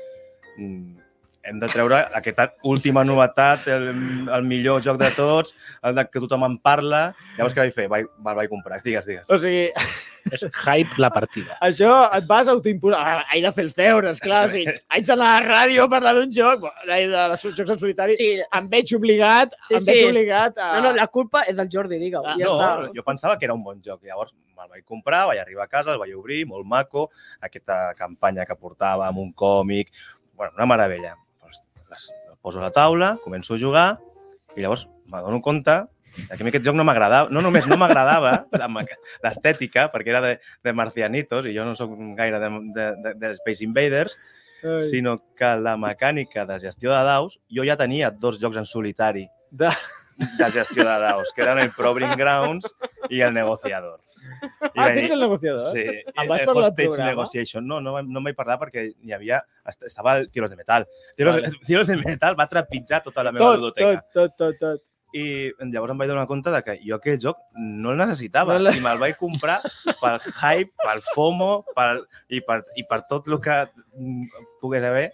Speaker 2: mm, hem de treure aquesta última novetat, el, el millor joc de tots, el de que tothom en parla. Llavors, què vaig fer? Vaig, me'l vaig comprar, digues, digues.
Speaker 1: O sigui,
Speaker 3: És hype la partida.
Speaker 1: això et vas autoimposar. Ah, he de fer els deures, clar. O sigui, haig d'anar a la ràdio a parlar d'un joc, de, de, de jocs en solitari. Sí.
Speaker 4: Sí,
Speaker 1: Em veig obligat,
Speaker 4: Sí,
Speaker 1: sí, em veig
Speaker 4: sí.
Speaker 1: obligat a...
Speaker 4: no, no, la culpa és del Jordi, digue-ho.
Speaker 1: Ah,
Speaker 4: ja
Speaker 2: no,
Speaker 4: està.
Speaker 2: jo pensava que era un bon joc. Llavors me'l vaig comprar, vaig arribar a casa, el vaig obrir, molt maco, aquesta campanya que portava amb un còmic, bueno, una meravella. Pues, les, el poso a la taula, començo a jugar i llavors m'adono compte que a mi aquest joc no m'agradava, no només no m'agradava la me- l'estètica, perquè era de, de marcianitos i jo no sóc gaire de, de, de, de Space Invaders,
Speaker 1: Ai.
Speaker 2: sinó que la mecànica de gestió de daus, jo ja tenia dos jocs en solitari
Speaker 1: De-
Speaker 2: de, de gestió de daus, que eren el Proving Grounds i el Negociador. I
Speaker 1: Ah,
Speaker 2: vaig
Speaker 1: tens
Speaker 2: dir,
Speaker 1: el negociador?
Speaker 2: Sí,
Speaker 1: En vas
Speaker 2: el
Speaker 1: parlar al
Speaker 2: Hostage
Speaker 1: programa?
Speaker 2: Negotiation. No, no, vam- no em vaig parlar perquè hi havia... est- Estava el Cielos de Metal. Cielos,
Speaker 1: Vale.
Speaker 2: Cielos de Metal va trepitjar tota la meva
Speaker 1: Tot,
Speaker 2: ludoteca.
Speaker 1: tot, tot, tot, tot.
Speaker 2: I llavors em vaig donar compte de que jo aquest joc no el necessitava
Speaker 1: No la-
Speaker 2: i me'l vaig comprar pel hype, pel FOMO pel, i, per, i per tot el que mm, pogués haver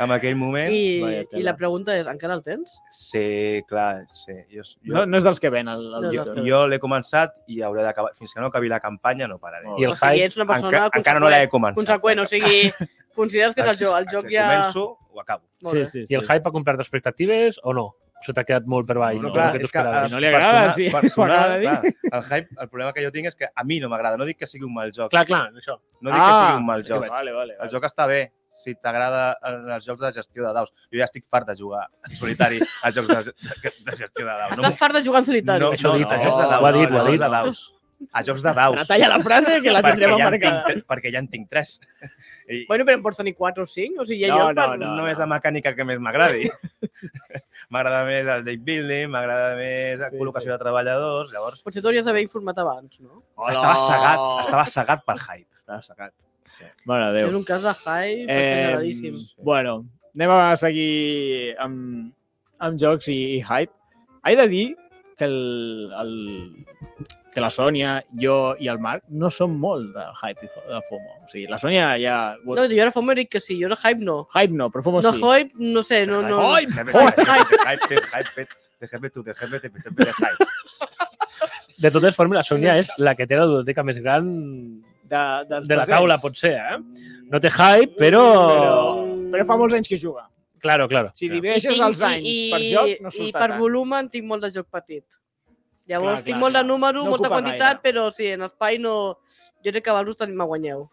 Speaker 2: en aquell moment.
Speaker 4: I,
Speaker 1: Vaya tela.
Speaker 4: I la pregunta és, encara el tens?
Speaker 2: Sí, clar, sí. Jo, jo,
Speaker 1: No, no és dels que ven el, el
Speaker 4: No, no.
Speaker 1: no,
Speaker 2: jo, jo l'he començat i hauré d'acabar. Fins que no acabi la campanya no pararé.
Speaker 1: Molt
Speaker 3: I el
Speaker 4: o sigui,
Speaker 3: hype,
Speaker 4: ets una persona
Speaker 2: Enca, encara no l'he començat. eh,
Speaker 4: conseqüent, o sigui, consideres que és el joc, el joc ja...
Speaker 2: Començo, ho acabo.
Speaker 4: Molt bé.
Speaker 1: sí,
Speaker 3: I el hype ha complert expectatives o no? Això t'ha quedat molt per baix.
Speaker 1: No,
Speaker 3: No,
Speaker 1: clar, eh,
Speaker 3: el que
Speaker 2: és eh,
Speaker 3: tu esperaves.
Speaker 1: si no li agrada,
Speaker 2: persona-
Speaker 1: sí, m'agrada
Speaker 2: Personal,
Speaker 1: dir.
Speaker 2: clar, el hype, el problema que jo tinc és que a mi no m'agrada. No dic que sigui un mal joc.
Speaker 3: clar, clar, això.
Speaker 2: No dic que
Speaker 1: Ah,
Speaker 2: sigui un mal joc.
Speaker 1: Vale, vale.
Speaker 2: El joc està bé, si t'agrada en els jocs de gestió de daus. Jo ja estic fart de jugar en solitari a jocs de, de, de gestió de daus.
Speaker 4: Estàs fart de jugar en solitari.
Speaker 2: no,
Speaker 3: Això ho
Speaker 2: no,
Speaker 3: ha dit,
Speaker 2: no, a
Speaker 3: això
Speaker 2: jocs de
Speaker 3: ho ha
Speaker 2: daus,
Speaker 3: dit,
Speaker 2: no,
Speaker 3: ho ha
Speaker 2: a jocs
Speaker 3: dit.
Speaker 2: de daus. A jocs de daus.
Speaker 1: Retalla la frase que la tindrem
Speaker 2: perquè, ja en
Speaker 1: marcada.
Speaker 2: tinc, perquè ja en tinc tres. I,
Speaker 4: Bueno, però em pots tenir 4 o 5? O sigui, ja
Speaker 1: No,
Speaker 4: jo...
Speaker 1: no,
Speaker 4: per-
Speaker 2: no, és la mecànica que més m'agradi. m'agrada més el deck building, m'agrada més la
Speaker 1: Sí,
Speaker 2: col·locació
Speaker 1: sí.
Speaker 2: de treballadors, llavors...
Speaker 4: Potser t'hauries d'haver informat abans, no?
Speaker 2: Estava cegat, estava cegat pel hype. Estava cegat. Sí.
Speaker 1: Mare de Déu.
Speaker 4: És un cas de hype exageradíssim.
Speaker 1: Eh, bueno, anem a seguir amb, amb jocs i, i hype. He de dir que, el, el, que la Sònia, jo i el Marc no som molt de hype i fo- de FOMO. O sigui, la Sònia ja...
Speaker 4: No, jo ara fa un que sí, jo era hype no.
Speaker 1: Hype no, però FOMO
Speaker 4: No
Speaker 1: sí.
Speaker 4: hype, no sé, no, no.
Speaker 1: Hype.
Speaker 2: Hype,
Speaker 1: Oi,
Speaker 2: hype, hype, hype, de hype, tu, de hype, de hype, de hype.
Speaker 3: De totes formes, la Sònia és la que té la biblioteca més gran
Speaker 1: De, dels
Speaker 3: de la
Speaker 1: presents.
Speaker 3: taula, potser, eh? No té hype, però...
Speaker 1: Però, però fa molts anys que juga.
Speaker 3: Claro, claro.
Speaker 1: Si
Speaker 3: Claro.
Speaker 1: divideixes els anys per joc, no
Speaker 4: I
Speaker 1: surt
Speaker 4: per
Speaker 1: tant.
Speaker 4: volum en tinc molt de joc petit. Llavors,
Speaker 1: Clar,
Speaker 4: clar, tinc
Speaker 1: clar,
Speaker 4: molt de
Speaker 1: clar.
Speaker 4: número,
Speaker 1: No
Speaker 4: no molta
Speaker 1: ocupa
Speaker 4: quantitat,
Speaker 1: gaire.
Speaker 4: però sí, en espai no... Jo crec que a Valus tenim a guanyeu.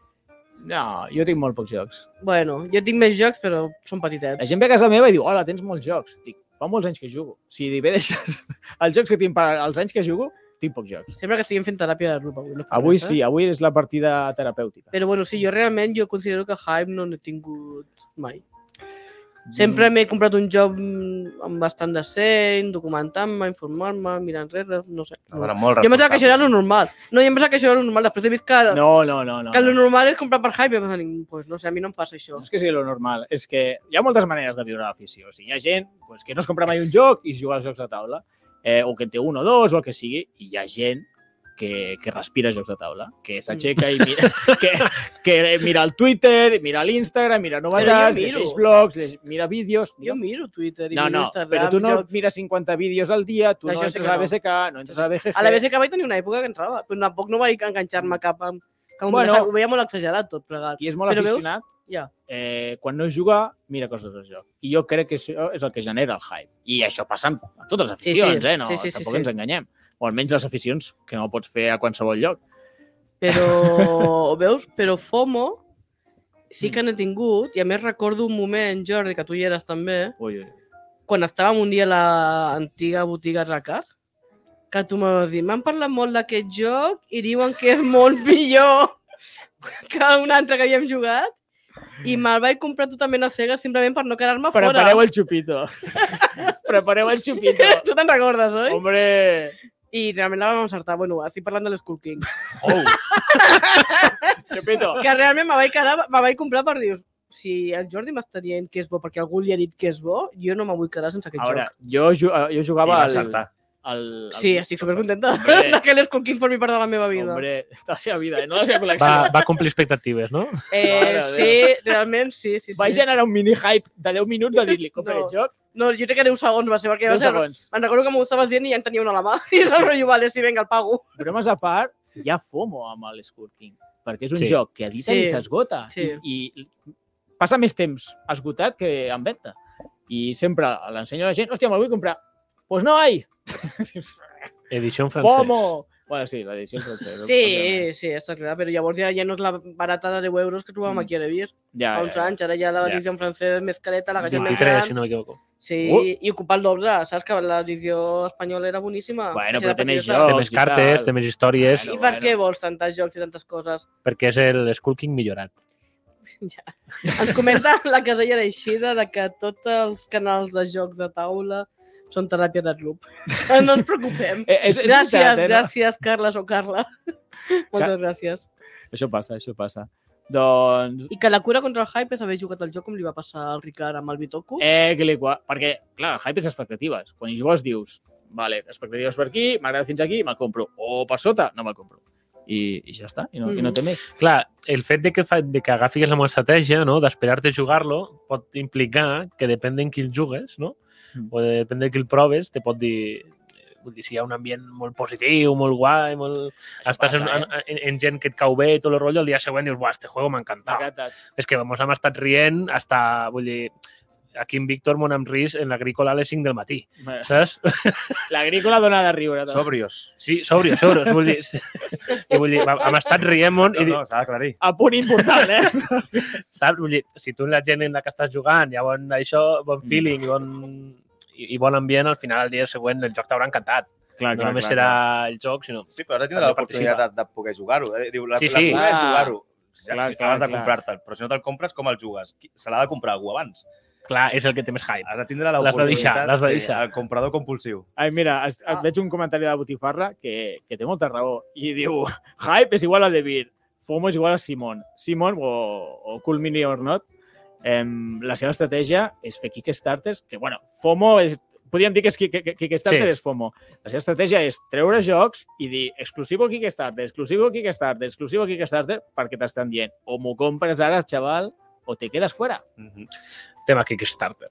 Speaker 1: No, jo tinc molt pocs jocs.
Speaker 4: Bueno, jo tinc més jocs, però són
Speaker 1: La
Speaker 4: petitets.
Speaker 1: gent ve a casa meva i diu, hola, tens molts jocs. Dic, fa molts anys que jugo. Si bé deixes els jocs que tinc per als anys que jugo, tinc pocs jocs.
Speaker 4: Sempre que estiguem fent teràpia de grup avui. No es pot
Speaker 1: Avui
Speaker 4: pensar.
Speaker 1: sí, avui és la partida terapèutica.
Speaker 4: Però bueno, sí, jo realment jo considero que hype no n'he tingut mai.
Speaker 1: Mm.
Speaker 4: Sempre m'he comprat un joc mm, amb bastant de seny, documentant-me, informant-me, mirant enrere, no sé.
Speaker 2: Una dona molt
Speaker 4: Jo em pensava que això era
Speaker 2: responsable.
Speaker 4: lo normal. No, jo em pensava que això era lo normal. Després he vist que, no,
Speaker 1: No, no, no. no.
Speaker 4: que lo
Speaker 1: no.
Speaker 4: normal és comprar per hype. I em pensava, pues no sé, a mi no em passa això.
Speaker 1: Ah. No és que sigui lo normal, és que hi ha moltes maneres de viure l'afició. O sigui, hi ha gent pues, que no es compra mai un joc i juga als jocs de taula, eh, o que en té un o dos, o el que sigui, i hi ha gent que, que respira jocs de taula, que s'aixeca i mira,
Speaker 4: Mm.
Speaker 1: que, que mira el Twitter, mira l'Instagram, mira novetats,
Speaker 4: miro.
Speaker 1: llegeix blogs, llegeix, mira vídeos...
Speaker 4: Jo miro Twitter i
Speaker 1: No,
Speaker 4: miro
Speaker 1: no,
Speaker 4: Instagram.
Speaker 1: però tu no
Speaker 4: jocs.
Speaker 1: mires 50 vídeos al dia, tu
Speaker 4: Això
Speaker 1: no
Speaker 4: sí
Speaker 1: entres
Speaker 4: que
Speaker 1: a la
Speaker 4: no.
Speaker 1: BSK, no entres a la BGG...
Speaker 4: A la BGK vaig tenir una època que entrava, però tampoc no vaig enganxar-me cap amb... Que
Speaker 1: Mm. Bueno.
Speaker 4: bueno, ho veia molt exagerat tot plegat.
Speaker 1: qui és molt
Speaker 4: Però veus?
Speaker 1: aficionat,
Speaker 4: Ja.
Speaker 1: eh, quan no juga, mira coses del joc. I jo crec que això és el que genera el hype. I això passa amb amb totes les
Speaker 4: Sí, sí.
Speaker 1: aficions, eh? No,
Speaker 4: Sí, sí, sí,
Speaker 1: tampoc
Speaker 4: sí.
Speaker 1: ens enganyem. O almenys les aficions, que no ho pots fer a qualsevol lloc.
Speaker 4: Però, veus? Però FOMO sí que n'he tingut, i a més recordo un moment, Jordi, que tu hi eres també,
Speaker 1: Ui, ui.
Speaker 4: quan estàvem un dia a l'antiga botiga Racar, que tu m'has dit, m'han parlat molt d'aquest joc i diuen que és molt millor que un altre que havíem jugat i me'l vaig comprar totalment a cegues simplement per no quedar-me fora.
Speaker 1: Prepareu el xupito. Prepareu el xupito.
Speaker 4: Tu te'n recordes, oi?
Speaker 1: Hombre,
Speaker 4: i realment la vam encertar. Bueno, estic parlant de l'Skull King.
Speaker 2: Oh,
Speaker 1: Repito.
Speaker 4: Que realment me vaig, quedar, me vaig comprar per dir si el Jordi m'està dient que és bo perquè algú li ha dit que és bo, jo no me vull quedar sense aquest
Speaker 1: Ahora,
Speaker 4: joc.
Speaker 1: jo, ju- eh, jo
Speaker 2: i
Speaker 1: jugava
Speaker 2: va
Speaker 1: al, al,
Speaker 2: acertar.
Speaker 1: al-
Speaker 4: Sí, estic supercontenta
Speaker 1: Hombre.
Speaker 4: de que l'Skull King formi part de la meva vida.
Speaker 1: Hombre, de la seva vida, eh? no de la seva col·lecció.
Speaker 3: Va,
Speaker 1: Va,
Speaker 3: va complir expectatives, no?
Speaker 4: Eh,
Speaker 1: Mare de
Speaker 4: sí, realment sí, sí, sí.
Speaker 1: Vaig generar un mini-hype de 10 minuts de dir-li, compra
Speaker 4: No.
Speaker 1: aquest joc,
Speaker 4: No, jo crec que 10 segons va ser, perquè va
Speaker 1: 10
Speaker 4: ser...
Speaker 1: segons.
Speaker 4: Me'n recordo que m'ho estaves dient i ja en tenia una a la mà. I del rotllo, vale, sí, vinga, el pago.
Speaker 1: Bromes a part, hi ha FOMO amb el Squirt King, perquè és un
Speaker 3: Sí.
Speaker 1: joc que edita i
Speaker 4: Sí.
Speaker 1: s'esgota.
Speaker 4: Sí.
Speaker 1: I, I passa més temps esgotat que en venda. I sempre l'ensenyo a la gent, hòstia, me'l vull comprar. Pues no hay!
Speaker 3: Edició en francès.
Speaker 1: FOMO! Bueno, sí, l'edició en francès. òbviament.
Speaker 4: Sí, sí, està clar, però llavors ja, ja no és la barata de 10 euros que trobàvem
Speaker 1: Mm.
Speaker 4: aquí a Revir.
Speaker 1: Ja,
Speaker 4: Fa uns
Speaker 1: ja, ja.
Speaker 4: anys, ara ja la
Speaker 1: Ja.
Speaker 4: edició en francès més careta, la gent més
Speaker 3: 23, si
Speaker 4: gran.
Speaker 3: no m'equivoco.
Speaker 4: Sí,
Speaker 1: Uh.
Speaker 4: i ocupar el doble, saps que l'edició espanyola era boníssima.
Speaker 1: Bueno,
Speaker 4: Així de
Speaker 1: però té més
Speaker 4: petiteta.
Speaker 1: jocs.
Speaker 3: Té més
Speaker 1: i
Speaker 3: cartes,
Speaker 1: tal.
Speaker 3: té més històries,
Speaker 1: Bueno.
Speaker 4: I per què vols tantes jocs i tantes coses?
Speaker 3: perquè és el Skull King millorat.
Speaker 4: Ja. Ens comenta la casella d'Eixida de que tots els canals de jocs de taula són teràpia de club. No ens preocupem.
Speaker 1: Eh, és, és
Speaker 4: Gràcies,
Speaker 1: veritat, eh, no?
Speaker 4: gràcies, Carles o Carla. Moltes gràcies.
Speaker 1: Això passa, això passa. Doncs...
Speaker 4: I que la cura contra el hype és haver jugat al joc com li va passar al Ricard amb el Bitoku.
Speaker 1: Eh, que li qua... Perquè, clar, el hype és expectatives. Quan hi jugues dius, vale, expectatives per aquí, m'agrada fins aquí, me'l compro. O per sota, no me'l compro. I, I ja està, i no, mm. i no té més.
Speaker 3: Clar, el fet de que, fa, de que agafis la meva estratègia, no? d'esperar-te a jugar-lo, pot implicar que depèn d'en qui el jugues, no?
Speaker 1: Mm.
Speaker 3: o de, depèn de qui el proves, te pot dir vull dir, si hi ha un ambient molt positiu, molt guai, molt...
Speaker 1: Això
Speaker 3: estàs
Speaker 1: passa, eh?
Speaker 3: en, en, en, gent que et cau bé i tot el rotllo, el dia següent dius, buah, este juego m'ha encantat.
Speaker 1: Tacatat.
Speaker 3: És que mos hem estat rient hasta, vull dir, aquí en Víctor mon hem ris en l'agrícola a les 5 del matí,
Speaker 1: Bueno,
Speaker 3: saps?
Speaker 1: L'agrícola dona de riure. Tot.
Speaker 2: Sòbrios.
Speaker 3: Sí, sobres, sobres, vull dir... I vull dir, hem estat rient mon
Speaker 2: No,
Speaker 3: i,
Speaker 2: no, s'ha d'aclarir.
Speaker 1: A punt important, eh?
Speaker 3: saps? Vull dir, si tu la gent en la que estàs jugant hi ha bon, això,
Speaker 1: Mm.
Speaker 3: bon feeling i bon, i, i bon ambient, al final, el dia següent, el joc t'haurà encantat.
Speaker 1: Ah, clar,
Speaker 3: No només serà el joc, sinó...
Speaker 2: Sí, però has de tindre
Speaker 3: També
Speaker 2: l'oportunitat de, de poder jugar-ho. Eh, Diu, la,
Speaker 3: Sí,
Speaker 2: sí,
Speaker 3: sí.
Speaker 2: sí.
Speaker 1: Ah.
Speaker 2: la ah, jugar-ho.
Speaker 1: Clar,
Speaker 2: Ja, clar,
Speaker 1: clar,
Speaker 2: si clar, de
Speaker 1: clar.
Speaker 2: comprar-te'l, però si no te'l compres, com el jugues? Qui- Se l'ha de comprar algú abans.
Speaker 3: Clar, és el que té més hype.
Speaker 1: Ah.
Speaker 2: Has de tindre
Speaker 3: L'has de
Speaker 2: l'oportunitat.
Speaker 3: deixar, l'has de deixar.
Speaker 2: Sí, el comprador compulsiu.
Speaker 1: Ai, mira, es, et
Speaker 4: Ah.
Speaker 1: veig un comentari de Botifarra que, que té molta raó i diu Hype és igual a De Beer, FOMO és igual a Simon. Simon, o, o Cool Mini or Not, em, la seva estratègia és fer Kickstarters, que, bueno, FOMO és... Podríem dir que, és, ki- que, que Kickstarter
Speaker 3: Sí.
Speaker 1: sí. és FOMO. La seva estratègia és treure jocs i dir exclusivo Kickstarter, exclusivo Kickstarter, exclusivo Kickstarter, perquè t'estan dient o m'ho compres ara, xaval, o te quedes fuera.
Speaker 2: Mhm.
Speaker 3: Tema Kickstarter.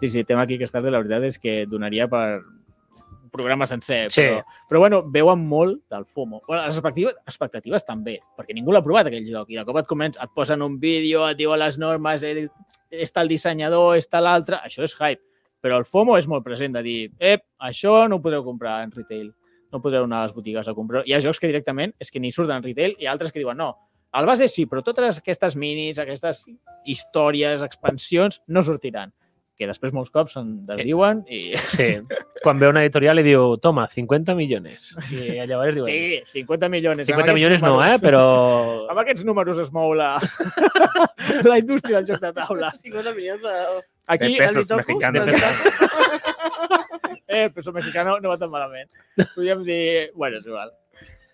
Speaker 1: Sí, sí, tema Kickstarter, la veritat és que donaria per un programa sencer.
Speaker 3: Sí.
Speaker 1: Però, però bueno, veuen molt del FOMO. Bueno, les expectatives, expectatives també, perquè ningú l'ha provat aquell lloc. I de cop et comença, et posen un vídeo, et diuen les normes, eh, està el dissenyador, està l'altre... Això és hype. Però el FOMO és molt present de dir, ep, això no ho podreu comprar en retail. No podreu anar a les botigues a comprar. Hi ha jocs que directament és que ni surten en retail i altres que diuen no, el base sí, però totes aquestes minis, aquestes històries, expansions, no sortiran. Que després molts cops se'n desdiuen i...
Speaker 3: Sí. Quan ve una editorial i diu, toma, 50 milions. I llavors diuen, sí,
Speaker 1: Sí, 50 milions. amb
Speaker 3: 50
Speaker 1: aquests
Speaker 3: milions no, eh?
Speaker 1: números-
Speaker 3: Però...
Speaker 1: Amb aquests números es mou la, la indústria del joc de taula.
Speaker 4: 50 milions de...
Speaker 1: Aquí,
Speaker 3: Eh,
Speaker 2: De pesos
Speaker 4: el Bitoku,
Speaker 2: mexicanos.
Speaker 4: de pesos.
Speaker 1: eh, el peso mexicano no va tan malament. Podríem dir... Bueno, és igual.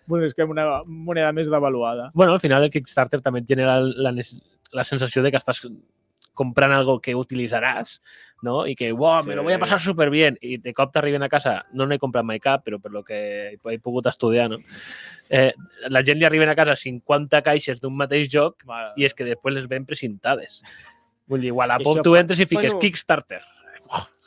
Speaker 1: Bueno, és que una moneda més devaluada.
Speaker 3: Bueno, al final el Kickstarter també et genera la, nes- la sensació de que estàs comprant algo que utilitzaràs, no? I que, wow, me lo
Speaker 2: Sí.
Speaker 3: voy a pasar súper bien. I de cop t'arriben a casa, no n'he comprat mai cap, però per lo que he pogut estudiar, no? Eh, la gent li arriben a casa 50 caixes d'un mateix joc
Speaker 1: Mare.
Speaker 3: i és que després les ven precintades. Vull dir, igual a
Speaker 1: Això
Speaker 3: poc tu entres i fiques
Speaker 4: Bueno.
Speaker 3: Kickstarter.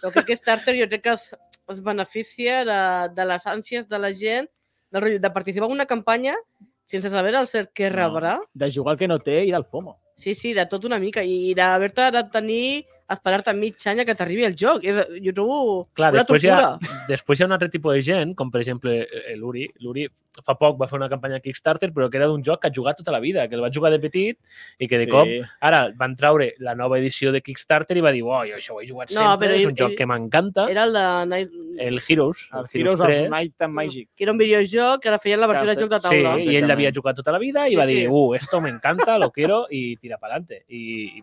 Speaker 4: El que Kickstarter jo crec que es, es beneficia de, de les ànsies de la gent de, rotllo de participar en una campanya sense saber al cert què
Speaker 1: No.
Speaker 4: rebrà.
Speaker 1: De jugar el que no té i del FOMO.
Speaker 4: Sí, sí, de tot una mica. I d'haver-te de tenir esperar-te mig any a que t'arribi el joc. És, jo trobo
Speaker 3: Clar,
Speaker 4: una
Speaker 3: després hi
Speaker 4: tortura.
Speaker 3: ha- Després hi ha un altre tipus de gent, com per exemple eh, l'Uri. L'Uri fa poc va fer una campanya Kickstarter, però que era d'un joc que ha jugat tota la vida, que el va jugar de petit i que de sí. cop ara van treure la nova edició de Kickstarter i va dir, oh, jo això ho he jugat
Speaker 4: No,
Speaker 3: no, sempre,
Speaker 4: però
Speaker 3: és
Speaker 4: ell-
Speaker 3: un joc
Speaker 4: ell-
Speaker 3: que m'encanta.
Speaker 4: Era el de Night...
Speaker 3: El Heroes,
Speaker 1: El Heroes of Night and Magic.
Speaker 4: que era un videojoc que ara feien la versió
Speaker 1: Que ha
Speaker 4: de joc de
Speaker 3: Sí,
Speaker 4: taula.
Speaker 3: i ell
Speaker 1: Exactament.
Speaker 3: l'havia jugat tota la vida i
Speaker 4: Sí,
Speaker 3: va
Speaker 4: sí.
Speaker 3: dir, uh, esto me encanta, lo quiero, i tira pa'lante. I,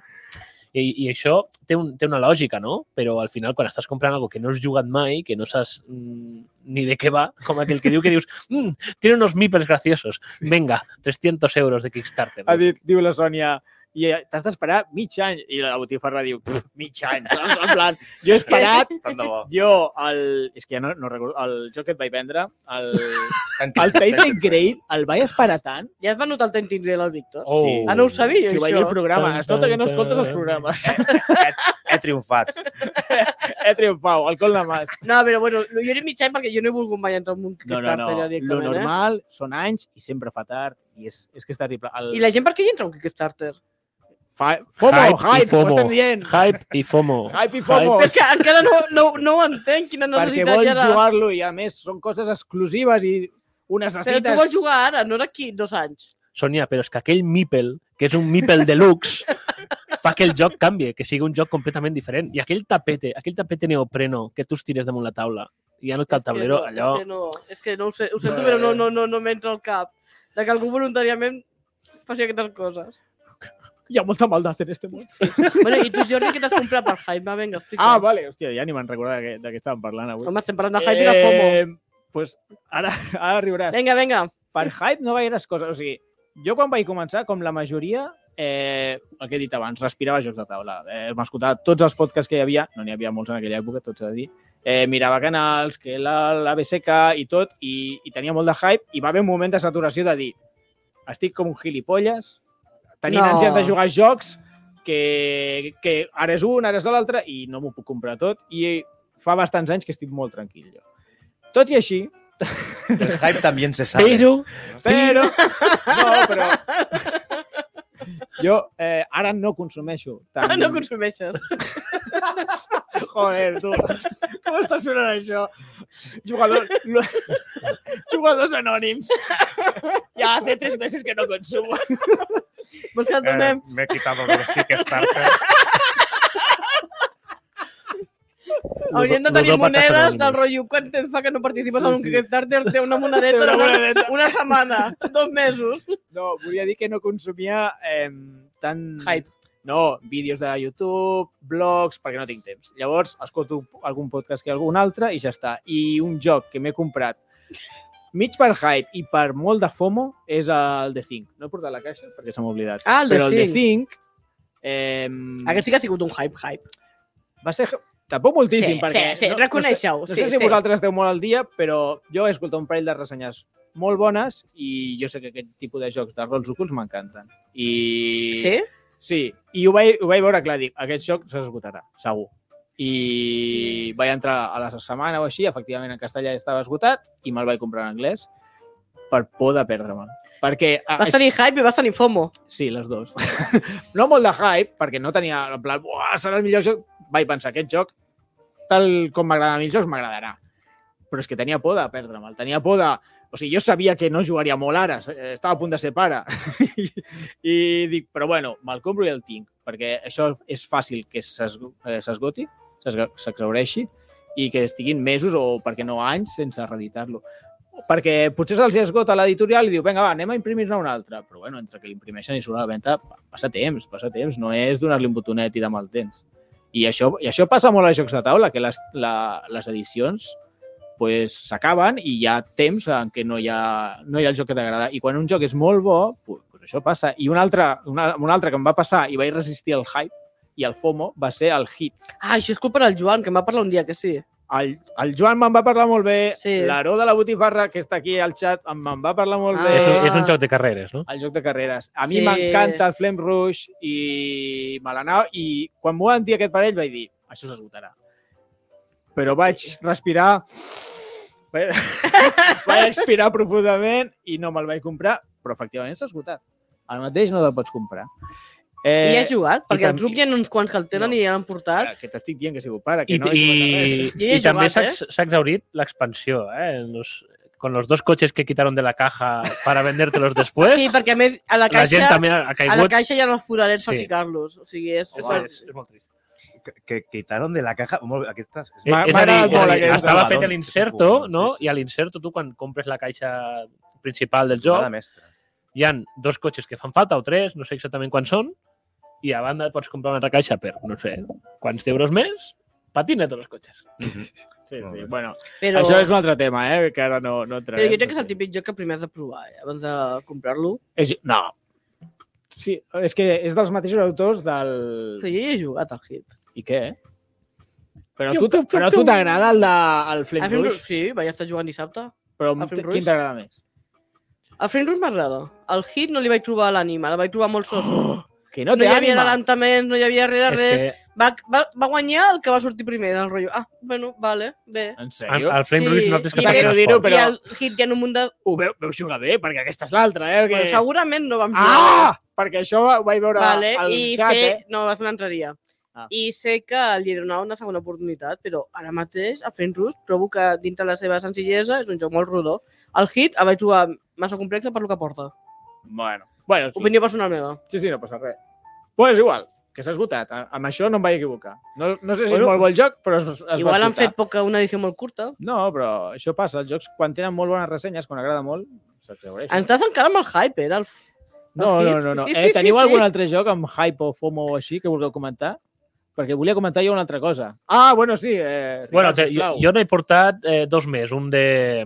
Speaker 3: I, i això té, un, té una lògica, no? Però al final, quan estàs comprant algo que no has jugat mai, que no saps mm, ni de què va, com aquell que diu que dius, mm, tiene unos meeples graciosos, venga, 300 euros de Kickstarter.
Speaker 1: Ha dit, diu la Sònia, i eh, t'has d'esperar mig any. I la botifarra diu, "Pff, mig any. Saps? En plan, jo he esperat,
Speaker 2: Tant de bo.
Speaker 1: jo, el, és que ja no, no recordo, el joc que et vaig vendre, el,
Speaker 2: Tant
Speaker 1: el Payment Grade, el vaig esperar tant.
Speaker 4: Ja es va notar el Tenting Grail al Víctor.
Speaker 3: Oh.
Speaker 4: Ah, no ho sabia,
Speaker 1: Si ho vaig dir
Speaker 4: això.
Speaker 1: al programa, es nota que no escoltes els programes.
Speaker 2: He triomfat.
Speaker 1: He triomfat, el col de mas.
Speaker 4: No, però bueno, jo era mig any perquè jo no he volgut mai entrar en un
Speaker 1: No, no,
Speaker 4: Kickstarter
Speaker 1: no.
Speaker 4: ja
Speaker 1: Lo
Speaker 4: directament, eh?
Speaker 1: normal són anys i sempre fa tard. I és, és que és terrible. El...
Speaker 4: I la gent per què hi entra a un Kickstarter?
Speaker 1: Fa... FOMO,
Speaker 3: Hype i
Speaker 1: hype, hype ho
Speaker 3: FOMO.
Speaker 1: estem dient.
Speaker 3: Hype i FOMO.
Speaker 1: Hype i FOMO.
Speaker 4: És que encara no, no, no ho entenc, quina
Speaker 1: perquè
Speaker 4: necessitat
Speaker 1: vol
Speaker 4: hi ha. de-
Speaker 1: jugar-lo i, a més, són coses exclusives i ho
Speaker 4: Però
Speaker 1: necessites.
Speaker 4: tu vols jugar ara, no d'aquí dos anys.
Speaker 3: Sònia, però és que aquell Meeple, que és un Meeple deluxe, fa que el joc canvi, que sigui un joc completament diferent. I aquell tapete, aquell tapete neopreno que tu estires damunt la taula, i ja no et cal tablero,
Speaker 4: és que no, És
Speaker 3: allò...
Speaker 4: que no, és que no ho, sé, ho sento, però no, no, no, no m'entra al cap. De que algú voluntàriament faci aquestes coses.
Speaker 1: Hi ha molta maldat en este món.
Speaker 4: bueno, i tu, Jordi, què t'has comprat per Hype? Va, vinga, explica.
Speaker 1: Ah, vale, hòstia, ja ni me'n recordava de, què- de què estàvem parlant avui.
Speaker 4: Home, estem parlant de Hype i de FOMO.
Speaker 1: pues ara, ara riuràs.
Speaker 4: Vinga, vinga.
Speaker 1: Per hype no gaires coses. O sigui, jo quan vaig començar, com la majoria, eh, el que he dit abans, respirava jocs de taula. Eh, M'escoltava tots els podcasts que hi havia, no n'hi havia molts en aquella època, tots s'ha de dir, eh, mirava canals, que la, la BSK i tot, i, i tenia molt de hype, i va haver un moment de saturació de dir estic com un gilipolles, tenint
Speaker 4: No.
Speaker 1: no. ànsies de jugar a jocs que, que ara és un, ara és l'altre, i no m'ho puc comprar tot, i fa bastants anys que estic molt tranquil jo. Tot i així,
Speaker 2: El hype també se sabe.
Speaker 3: Però
Speaker 1: Però, no, però... Jo eh, ara no consumeixo tant...
Speaker 4: No consumeixes.
Speaker 1: Joder, tu. Com està sonant això? Jugador... lo- Jugadors anònims. Ja hace tres meses que no consumo.
Speaker 4: Vols
Speaker 1: Eh,
Speaker 4: que et donem?
Speaker 2: me he Eh, quitado los Kickstarter.
Speaker 4: Hauríem de
Speaker 3: Ludòpata
Speaker 4: tenir monedes
Speaker 3: canònic.
Speaker 4: del rotllo. Quant temps fa que no participes
Speaker 1: Sí,
Speaker 4: en un
Speaker 1: sí.
Speaker 4: Kickstarter? Té una monedeta
Speaker 1: Té una
Speaker 4: durant
Speaker 1: monedeta.
Speaker 4: una setmana, dos mesos.
Speaker 1: No, volia dir que no consumia eh, tant...
Speaker 4: Hype.
Speaker 1: No, vídeos de YouTube, blogs, perquè no tinc temps. Llavors, escolto algun podcast que algun altre i ja està. I un joc que m'he comprat mig per hype i per molt de FOMO és el The Think. No he portat la caixa perquè se m'ha oblidat.
Speaker 4: Ah, el de
Speaker 1: Però el The
Speaker 4: cinc.
Speaker 1: Think eh,
Speaker 4: Aquest sí que ha sigut un hype, hype.
Speaker 1: va ser tampoc moltíssim.
Speaker 4: Sí,
Speaker 1: perquè
Speaker 4: sí, sí, reconeixeu.
Speaker 1: No sé, no
Speaker 4: sí,
Speaker 1: sé si
Speaker 4: sí.
Speaker 1: vosaltres esteu molt al dia, però jo he escoltat un parell de ressenyes molt bones i jo sé que aquest tipus de jocs de rols ocults m'encanten. I...
Speaker 4: Sí?
Speaker 1: Sí, i ho vaig, ho vaig veure clar, dic, aquest joc s'esgotarà, segur. I vaig entrar a la setmana o així, efectivament en castellà ja estava esgotat i me'l vaig comprar en anglès per por de perdre-me'l. Perquè, ah,
Speaker 4: Vas tenir hype i vas tenir FOMO.
Speaker 1: és, sí, les dues. no molt de hype, perquè no tenia, en plan, "Buah, serà el millor joc. Vaig pensar, aquest joc, tal com m'agrada a mi els jocs, m'agradarà. Però és que tenia por de perdre-me'l, tenia por de... O sigui, jo sabia que no jugaria molt ara, eh, estava a punt de ser pare. I, i dic, però bueno, me'l compro i el tinc, perquè això és fàcil que s'esgo- eh, s'esgoti, s'esga- s'exhaureixi, i que estiguin mesos o, perquè no, anys sense reeditar-lo. Perquè potser se'ls esgota l'editorial i diu, vinga, va, anem a imprimir-ne un altre. Però bueno, entre que l'imprimeixen i surt a la venda, pa- passa temps, passa temps. No és donar-li un botonet i de mal temps. I això, I això passa molt als jocs de taula, que les, la, les edicions pues, s'acaben i hi ha temps en què no hi ha, no hi ha el joc que t'agrada. I quan un joc és molt bo, pues, pues això passa. I un altre, una, un altre que em va passar i vaig resistir el hype i el FOMO va ser el hit.
Speaker 4: Ah, això és culpa del Joan, que em va parlar un dia que sí.
Speaker 1: El, el Joan me'n va parlar molt bé,
Speaker 4: Sí.
Speaker 1: sí. l'Aro de la Botifarra, que està aquí al xat, em- me'n va parlar molt
Speaker 4: Ah.
Speaker 1: bé.
Speaker 3: és, un- és un joc de carreres, no?
Speaker 1: el joc de carreres. A mi
Speaker 4: Sí.
Speaker 1: m'encanta el Flame Rush i me l'anava i quan m'ho van dir aquest parell vaig dir, això s'esgotarà. Però vaig respirar vaig vaig expirar profundament i no me'l vaig comprar, però efectivament s'ha esgotat. El mateix no te'l pots comprar.
Speaker 4: I has jugat? Perquè al
Speaker 1: també-
Speaker 4: grup hi ha uns quants que el tenen
Speaker 1: Eh, No.
Speaker 4: i han portat.
Speaker 1: eh, que t'estic dient que he sigut pare, que
Speaker 3: I,
Speaker 1: no he
Speaker 3: i,
Speaker 1: jugat a res.
Speaker 4: Jo hi he
Speaker 3: i també
Speaker 4: jugat,
Speaker 3: s'ha
Speaker 4: eh?
Speaker 3: ex- s'ha exhaurit l'expansió, eh? Los, con los dos coches que quitaron de la caja para vendértelos después,
Speaker 1: Eh?
Speaker 4: Sí, perquè a més a la
Speaker 3: la gent
Speaker 4: caixa,
Speaker 3: també ha
Speaker 4: a la
Speaker 3: caigut.
Speaker 4: caixa hi ha els forarets per
Speaker 3: Sí.
Speaker 4: ficar-los. O sigui, és...
Speaker 3: És,
Speaker 4: super-
Speaker 3: és, és molt trist.
Speaker 2: Que, que quitaron de la caja... Molt bé, aquesta... És...
Speaker 3: Eh,
Speaker 1: M'ha-
Speaker 3: és
Speaker 1: m'ha
Speaker 3: a dir,
Speaker 1: agradat
Speaker 3: és a
Speaker 1: molt
Speaker 3: dir,
Speaker 1: aquesta.
Speaker 3: estava fet
Speaker 2: Badon,
Speaker 3: l'inserto,
Speaker 2: sí, sí.
Speaker 3: no? I a l'inserto tu quan compres la caixa principal del joc
Speaker 2: Jornada mestra.
Speaker 3: hi han dos cotxes que fan falta o tres, no sé exactament quan són, i a banda pots comprar una altra caixa per, no sé, quants euros més, patina tots els cotxes.
Speaker 1: Sí,
Speaker 2: Molt
Speaker 1: sí.
Speaker 2: bé.
Speaker 1: Bueno,
Speaker 4: Però,
Speaker 1: però... això és un altre tema, eh? Que ara no, no
Speaker 4: però
Speaker 1: entrarem.
Speaker 4: jo crec que és el típic joc que primer has de provar, eh? abans de comprar-lo.
Speaker 1: És... No. Sí, és que és dels mateixos autors del...
Speaker 4: Però jo hi he jugat al hit.
Speaker 1: I què? Però a
Speaker 3: Piu,
Speaker 1: tu t-
Speaker 3: piu, piu,
Speaker 1: però a
Speaker 3: piu.
Speaker 1: tu t'agrada el de el Flame
Speaker 4: El Frame Rush,
Speaker 1: Rush?
Speaker 4: sí, vaig estar jugant dissabte.
Speaker 1: Però
Speaker 4: el Flame
Speaker 1: quin
Speaker 4: Rush?
Speaker 1: t'agrada més?
Speaker 4: El Frame Rush m'agrada. El hit no li vaig trobar l'ànima, el vaig trobar molt sos.
Speaker 1: Oh, que no
Speaker 4: No
Speaker 1: té
Speaker 4: hi havia
Speaker 1: ànima.
Speaker 4: adelantaments, no hi havia res de
Speaker 3: És
Speaker 4: res.
Speaker 3: que
Speaker 4: Va, va, va guanyar el que va sortir primer del rotllo. Ah, bueno, vale, bé.
Speaker 1: En
Speaker 3: el,
Speaker 1: sèrio?
Speaker 3: el Flame Rush no tens
Speaker 1: i
Speaker 3: que
Speaker 1: crec-
Speaker 3: saber
Speaker 1: Sap greu dir-ho,
Speaker 3: dir-ho,
Speaker 1: però-
Speaker 3: però...
Speaker 4: I el hit ja en un munt de...
Speaker 1: Ho veu, veu jugar bé, perquè aquesta és l'altra, eh? Que...
Speaker 4: Bueno, segurament no vam jugar.
Speaker 1: Ah! Perquè això ho vaig veure
Speaker 4: vale,
Speaker 1: al
Speaker 4: i
Speaker 1: xat,
Speaker 4: sé...
Speaker 1: eh?
Speaker 4: No, va fer una entraria.
Speaker 1: Ah.
Speaker 4: I sé que li donava una segona oportunitat, però ara mateix, a Fent Rus, trobo que dintre la seva senzillesa és un joc molt rodó. El hit el vaig trobar massa complex per lo que porta.
Speaker 1: Bueno, bueno sí.
Speaker 4: Opinió personal meva.
Speaker 1: sí, sí, no passa res. Però és igual, que s'ha esgotat. A- Amb això no em vaig equivocar. No, no sé si
Speaker 3: Bueno.
Speaker 1: és molt bon joc, però es, es va
Speaker 4: Igual han
Speaker 1: esgotar.
Speaker 4: fet poca, una edició molt curta.
Speaker 1: No, però això passa. Els jocs, quan tenen molt bones ressenyes, quan agrada molt, s'atreveixen.
Speaker 4: Estàs encara amb el hype, eh? Del...
Speaker 1: No,
Speaker 4: el
Speaker 1: no,
Speaker 4: hit.
Speaker 1: no. no.
Speaker 4: Sí,
Speaker 1: eh,
Speaker 4: sí,
Speaker 1: teniu
Speaker 4: sí,
Speaker 1: algun
Speaker 4: sí.
Speaker 1: altre joc amb hype o FOMO o així que vulgueu comentar? Perquè volia comentar jo una altra cosa. Ah, bueno, sí. Eh, Ricard,
Speaker 3: Bueno, te, jo,
Speaker 1: sisplau.
Speaker 3: jo n'he portat eh, dos més, un de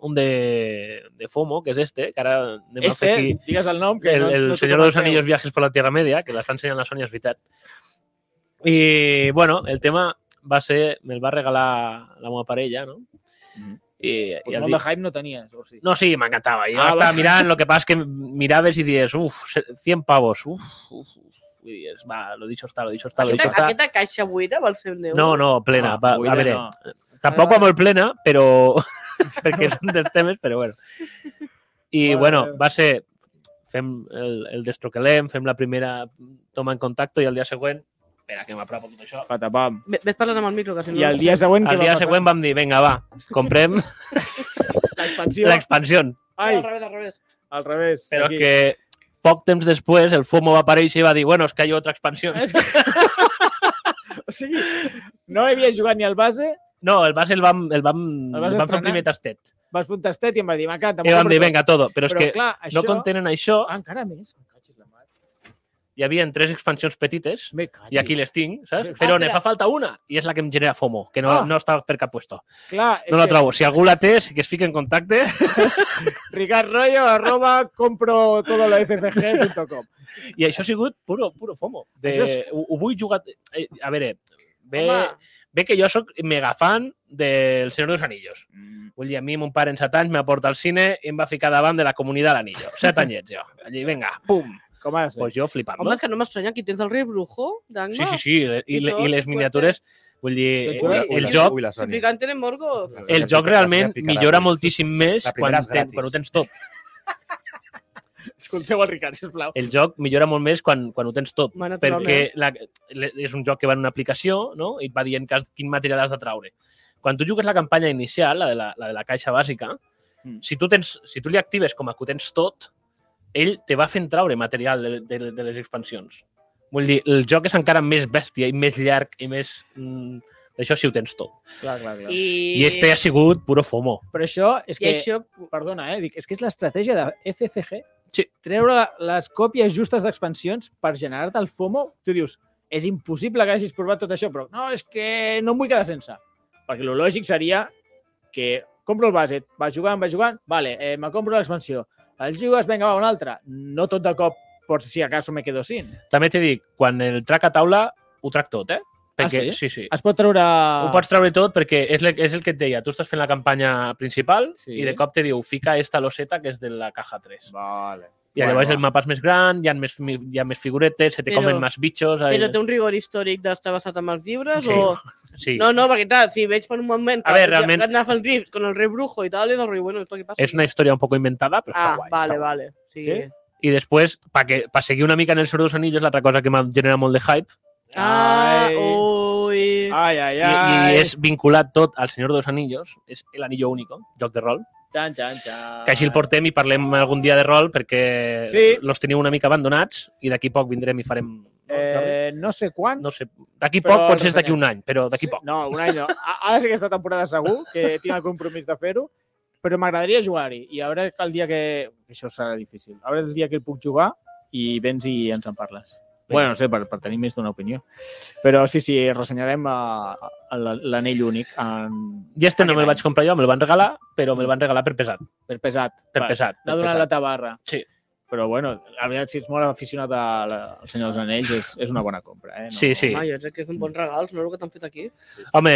Speaker 3: un de, de FOMO, que és este, que ara anem a fer
Speaker 1: Este,
Speaker 3: aquí
Speaker 1: digues el nom. Que
Speaker 3: el,
Speaker 1: no,
Speaker 3: el
Speaker 1: no t'ho
Speaker 3: Senyor dels
Speaker 1: comenteu.
Speaker 3: Anillos Viajes per la Tierra Media, que l'està ensenyant la Sònia, és veritat. I, bueno, el tema va ser... Me'l va regalar la meva parella, no?
Speaker 1: Mhm.
Speaker 3: I, i
Speaker 1: Pues
Speaker 3: el
Speaker 1: molt
Speaker 3: dic,
Speaker 1: de hype no tenies. O sigui.
Speaker 3: No, sí, m'encantava. Jo
Speaker 1: Ah,
Speaker 3: ah, estava
Speaker 1: va.
Speaker 3: mirant, lo que pasa es que mirabes y dices, uff, 100 pavos, uff, uff, uf, i diries, va, lo dicho está, lo dicho está, lo dicho
Speaker 4: Aquesta,
Speaker 3: está.
Speaker 4: aquesta caixa buida vol ser un euro?
Speaker 3: No, no, plena,
Speaker 1: Ah,
Speaker 3: va,
Speaker 1: buida
Speaker 3: a eh. veure,
Speaker 1: no.
Speaker 3: tampoc
Speaker 4: Vale,
Speaker 3: va molt plena, però perquè és un dels temes, però bueno. I
Speaker 1: Vale,
Speaker 3: bueno, eh.
Speaker 1: vale.
Speaker 3: va ser fem el, el destroquelem, fem la primera toma en contacte i el dia següent, espera que m'apropo tot això,
Speaker 1: Patapam.
Speaker 4: Ve- Ves parlant amb el micro, que si no...
Speaker 1: I el dia següent què
Speaker 3: el
Speaker 1: va
Speaker 3: dia
Speaker 1: passar?
Speaker 3: següent vam dir, vinga, va, comprem
Speaker 1: L'expansió.
Speaker 3: l'expansió.
Speaker 1: Ai,
Speaker 4: Ai. Al revés, al revés.
Speaker 1: al revés.
Speaker 3: Però
Speaker 1: aquí.
Speaker 3: que poc temps després el FOMO va aparèixer i va dir, bueno, és que hi ha otra expansió.
Speaker 1: És que... o sigui, no havia jugat ni al base,
Speaker 3: No, el base el vam, el vam,
Speaker 1: El
Speaker 3: el
Speaker 1: vas
Speaker 3: vam fer
Speaker 1: estrenar?
Speaker 3: un primer tastet.
Speaker 1: vas fer un tastet i em va dir, m'encanta.
Speaker 3: I
Speaker 1: m'ho
Speaker 3: vam dir,
Speaker 1: compro".
Speaker 3: vinga, todo. Però,
Speaker 1: Però
Speaker 3: és que
Speaker 1: clar,
Speaker 3: això... no contenen això.
Speaker 1: Ah, encara més. Me cagis la mar.
Speaker 3: Hi havia tres expansions petites
Speaker 1: Me cagis.
Speaker 3: i aquí les tinc, saps?
Speaker 1: Ah,
Speaker 3: Però ne
Speaker 4: espera.
Speaker 3: fa falta una i és la que em genera FOMO, que no,
Speaker 1: Ah.
Speaker 3: no està per cap puesto.
Speaker 1: Clar, és
Speaker 3: No la
Speaker 1: que
Speaker 3: trobo. Si algú la té, sí que es fiqui en contacte.
Speaker 1: Ricard Rollo, arroba, compro todo lo fcg.com.
Speaker 3: I això ha sigut puro, puro FOMO. De...
Speaker 1: Això és-
Speaker 3: Ho, ho vull jugar... eh, A veure, ve,
Speaker 4: Home,
Speaker 3: ve que jo sóc mega fan del Senyor dels Anillos.
Speaker 1: Mm,
Speaker 3: Vull dir, a mi mon pare en set anys m'ha portat al cine i em va ficar davant de la comunitat de l'anillo. Set anyets, jo. Allí, vinga, pum.
Speaker 1: Com ha de
Speaker 3: Doncs
Speaker 1: ser?
Speaker 3: pues jo flipant.
Speaker 4: home, és que no m'estranya, aquí tens el rei brujo d'Angma.
Speaker 3: Sí, sí, sí. I,
Speaker 4: I
Speaker 3: i,
Speaker 4: tot,
Speaker 3: i les
Speaker 4: fuerte.
Speaker 3: miniatures, vull dir,
Speaker 1: Sí, sí.
Speaker 3: Eh, el joc,
Speaker 2: Ui, la
Speaker 4: Si
Speaker 2: Sony.
Speaker 4: picante en morgos.
Speaker 2: La Sony
Speaker 3: el
Speaker 2: pica-
Speaker 3: joc
Speaker 2: la Sony
Speaker 3: realment
Speaker 2: picarà,
Speaker 3: millora
Speaker 2: ui.
Speaker 3: moltíssim més
Speaker 2: La
Speaker 3: quan,
Speaker 2: primera és
Speaker 3: ten,
Speaker 2: gratis.
Speaker 3: quan ho tens tot.
Speaker 1: Escolteu el Ricard, sisplau.
Speaker 3: El joc millora molt més quan, quan ho tens tot.
Speaker 4: Home, naturalment.
Speaker 3: Perquè la, le- és un joc que va en una aplicació no? i et va dient que, quin material has de traure. Quan tu jugues la campanya inicial, la de la, la, de la caixa bàsica,
Speaker 1: Mm.
Speaker 3: si tu, tens, si tu li actives com a que ho tens tot, ell te va fent traure material de, de, de les expansions. Vull dir, el joc és encara més bèstia i més llarg i més... Mm, això si ho tens tot.
Speaker 1: Clar, clar, clar.
Speaker 4: I,
Speaker 3: I este ha sigut puro FOMO.
Speaker 1: Però això és
Speaker 4: I
Speaker 1: que...
Speaker 4: això...
Speaker 1: Perdona, eh? Dic, és que és l'estratègia de FFG.
Speaker 3: Sí.
Speaker 1: Treure la- les còpies justes d'expansions per generar-te el FOMO. Tu dius, és impossible que hagis provat tot això, però no, és que no em vull quedar sense. Perquè lo lògic seria que compro el base, va jugant, va jugant, vale, eh, me compro l'expansió, el jugues, vinga, va, un altre. No tot de cop, per si acaso me quedo sin.
Speaker 3: També t'he dit, quan el trac a taula, ho trac tot, eh? Perquè,
Speaker 1: Ah,
Speaker 3: sí? Sí, sí.
Speaker 1: Es pot treure...
Speaker 3: Ho pots treure tot perquè és, le, és el que et deia. Tu estàs fent la campanya principal
Speaker 1: Sí.
Speaker 3: sí. i de cop te diu, fica esta loseta que és de la caja 3.
Speaker 2: Vale.
Speaker 3: I
Speaker 2: Bueno,
Speaker 3: llavors
Speaker 2: va.
Speaker 3: el mapa és més gran, hi ha més, fi- hi ha més figuretes, se te
Speaker 4: Però-
Speaker 3: comen més bitxos...
Speaker 4: Però
Speaker 3: eh,
Speaker 4: té un rigor històric d'estar basat en els llibres
Speaker 3: Sí.
Speaker 4: o...
Speaker 3: Sí.
Speaker 4: No, no, perquè clar, si veig per un moment que,
Speaker 3: A veure, realment-
Speaker 4: que han anat el grips con el rei brujo i tal, i del rotllo, bueno, esto què passa?
Speaker 3: És una història un poc inventada, però està
Speaker 4: Ah,
Speaker 3: guai.
Speaker 4: vale,
Speaker 3: està guai.
Speaker 4: vale. Sí.
Speaker 1: Sí?
Speaker 3: I després, per pa seguir una mica en el Senyor dels Anillos, l'altra cosa que m'ha generat molt de hype,
Speaker 4: Ah,
Speaker 1: Ai.
Speaker 4: ui...
Speaker 1: Ai, ai,
Speaker 3: i,
Speaker 1: ai.
Speaker 3: i és vinculat tot al Senyor dels Anillos, és l'anillo único, joc de rol,
Speaker 1: Xan, xan, xan.
Speaker 3: que així el portem i parlem algun dia de rol perquè
Speaker 1: Ah. Sí.
Speaker 3: los teniu una mica abandonats i d'aquí poc vindrem i farem...
Speaker 1: Eh, no sé quan,
Speaker 3: No sé, d'aquí
Speaker 1: Però
Speaker 3: poc, potser
Speaker 1: el
Speaker 3: és d'aquí un any, però
Speaker 1: Sí,
Speaker 3: d'aquí poc.
Speaker 1: No, un any no. A- Ara sí que aquesta temporada segur, que tinc el compromís de fer-ho, però m'agradaria jugar-hi. I a veure el dia que... Això serà difícil. A veure el dia que el puc jugar i vens i ens en parles. Bueno, no sé, per, per tenir més d'una opinió. Però sí, sí, ressenyarem eh, l- l'anell únic en...
Speaker 3: I este no
Speaker 1: Aquest
Speaker 3: me'l
Speaker 1: any.
Speaker 3: vaig comprar jo, me'l van regalar, però me'l van regalar per pesat.
Speaker 1: per pesat.
Speaker 3: Per
Speaker 1: Va,
Speaker 3: pesat.
Speaker 1: N'ha
Speaker 3: per
Speaker 1: donat
Speaker 3: pesat.
Speaker 1: la tabarra.
Speaker 3: Sí.
Speaker 1: Però, bueno, la veritat, si ets molt aficionat a la, al Senyor dels Anells, és, és una bona compra. Eh?
Speaker 3: Sí, sí.
Speaker 4: Home, jo crec que és un
Speaker 3: Mm.
Speaker 4: bon regal, no el que t'han fet aquí.
Speaker 3: Home,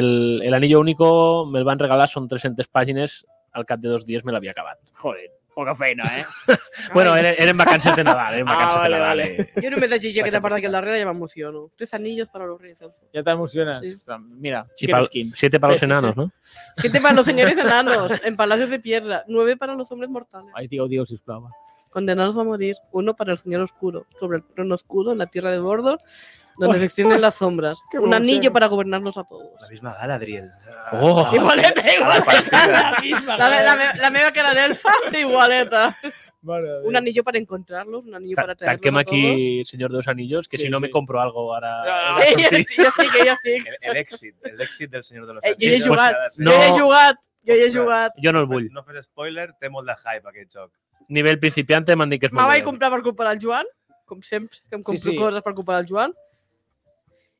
Speaker 3: el, el Anillo Único me'l van regalar, són 300 pàgines, al cap de dos dies me l'havia acabat.
Speaker 1: Joder, poca feina, eh?
Speaker 3: Bueno, eren, eren vacances de Nadal, eren
Speaker 1: Ah,
Speaker 3: vacances
Speaker 1: vale,
Speaker 3: de Nadal.
Speaker 1: vale.
Speaker 3: eh.
Speaker 4: Jo només llegeixo
Speaker 3: Vaig
Speaker 4: aquesta part d'aquí al darrere
Speaker 3: aprofitar.
Speaker 4: i ja m'emociono. Tres anillos para los reyes. elfos.
Speaker 1: Ja t'emociones.
Speaker 4: Sí.
Speaker 1: Sí. Mira,
Speaker 3: Sí,
Speaker 1: quin
Speaker 3: pal-
Speaker 1: skin.
Speaker 3: Siete para
Speaker 1: Sí,
Speaker 3: los
Speaker 1: sí,
Speaker 3: enanos,
Speaker 1: sí.
Speaker 3: ¿no?
Speaker 4: Siete para los señores enanos en palacios de piedra. Nueve para los hombres mortales.
Speaker 1: Ai, digueu, digueu, sisplau. va.
Speaker 4: Condenados a morir. Uno para el señor oscuro. Sobre el trono oscuro en la tierra de Mordor, donde se extienden las sombras.
Speaker 1: Qué
Speaker 4: Un
Speaker 1: emoción.
Speaker 4: anillo para gobernarlos a todos.
Speaker 2: La misma Galadriel. Ah,
Speaker 3: Oh.
Speaker 4: Igualeta,
Speaker 2: a la
Speaker 4: igualeta.
Speaker 2: partida.
Speaker 4: La,
Speaker 1: eh?
Speaker 4: me- la, me- la meva cara d'elfa, però igualeta.
Speaker 1: Mare de Déu.
Speaker 4: Un anillo para encontrarlos, un anillo para
Speaker 3: Ta-
Speaker 4: traerlos
Speaker 3: Tanquem
Speaker 4: a todos.
Speaker 3: aquí, señor de los anillos, que
Speaker 1: Sí,
Speaker 3: si no
Speaker 1: sí.
Speaker 3: me compro algo ahora...
Speaker 1: Ah,
Speaker 3: ahora
Speaker 4: Sí,
Speaker 3: sortir.
Speaker 4: jo estic, jo estic.
Speaker 2: El, el èxit, el èxit del Senyor de los
Speaker 4: Eh, jo hi he
Speaker 2: Anillos.
Speaker 4: jugat.
Speaker 2: Ha de ser-
Speaker 4: Jo
Speaker 3: No.
Speaker 4: hi he jugat, jo hi he jugat.
Speaker 3: Jo no el vull.
Speaker 2: No fes spoiler, té molt de hype aquest joc.
Speaker 3: Nivell principiante m'han dit que és
Speaker 4: Me
Speaker 3: molt
Speaker 4: vaig
Speaker 3: dolent.
Speaker 4: comprar per comprar el Joan, com sempre, que em compro
Speaker 1: sí.
Speaker 4: coses per comprar el Joan.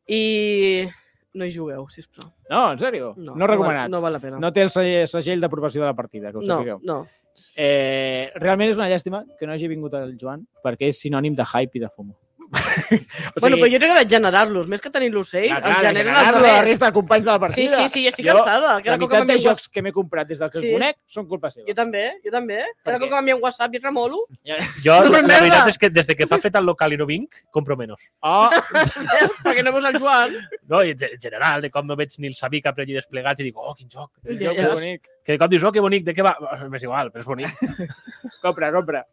Speaker 4: I no hi jugueu, sisplau.
Speaker 1: No, en sèrio? No, no recomanat.
Speaker 4: No,
Speaker 1: No,
Speaker 4: val- no val la pena.
Speaker 1: no té el se- segell d'aprovació de la partida, que ho
Speaker 4: no,
Speaker 1: sapigueu.
Speaker 4: no.
Speaker 1: Eh, realment és una llàstima que no hagi vingut el Joan, perquè és sinònim de hype i de fumo. o
Speaker 4: Bueno, però jo he agradat generar-los, més que tenir l'ocell,
Speaker 1: clar,
Speaker 4: els
Speaker 1: clar,
Speaker 4: generen els
Speaker 1: generar-lo a la
Speaker 4: darrers.
Speaker 1: resta de companys de la
Speaker 4: Sí,
Speaker 1: partida.
Speaker 4: sí, sí, jo estic
Speaker 1: Jo,
Speaker 4: cansada.
Speaker 1: La
Speaker 4: Cada cop que
Speaker 1: meitat de
Speaker 4: m'envien WhatsApp...
Speaker 1: jocs que m'he comprat des del que
Speaker 4: Sí.
Speaker 1: sí. conec són culpa seva.
Speaker 4: Jo també, jo també. Cada
Speaker 1: què?
Speaker 4: cop que m'envien WhatsApp i remolo.
Speaker 3: Jo,
Speaker 4: No,
Speaker 3: la,
Speaker 4: merda.
Speaker 3: la veritat és que des de que fa fet el local i no vinc, compro menys.
Speaker 1: Oh,
Speaker 4: perquè no veus el Joan.
Speaker 3: No, i en general, de cop no veig ni el Sabica per allí desplegat i dic, oh, quin joc.
Speaker 1: un
Speaker 4: Ja,
Speaker 1: joc
Speaker 4: ja.
Speaker 1: ja, bonic.
Speaker 3: Que de cop dius, oh, que bonic, de què va? M'és igual, però és bonic.
Speaker 1: Compra, compra.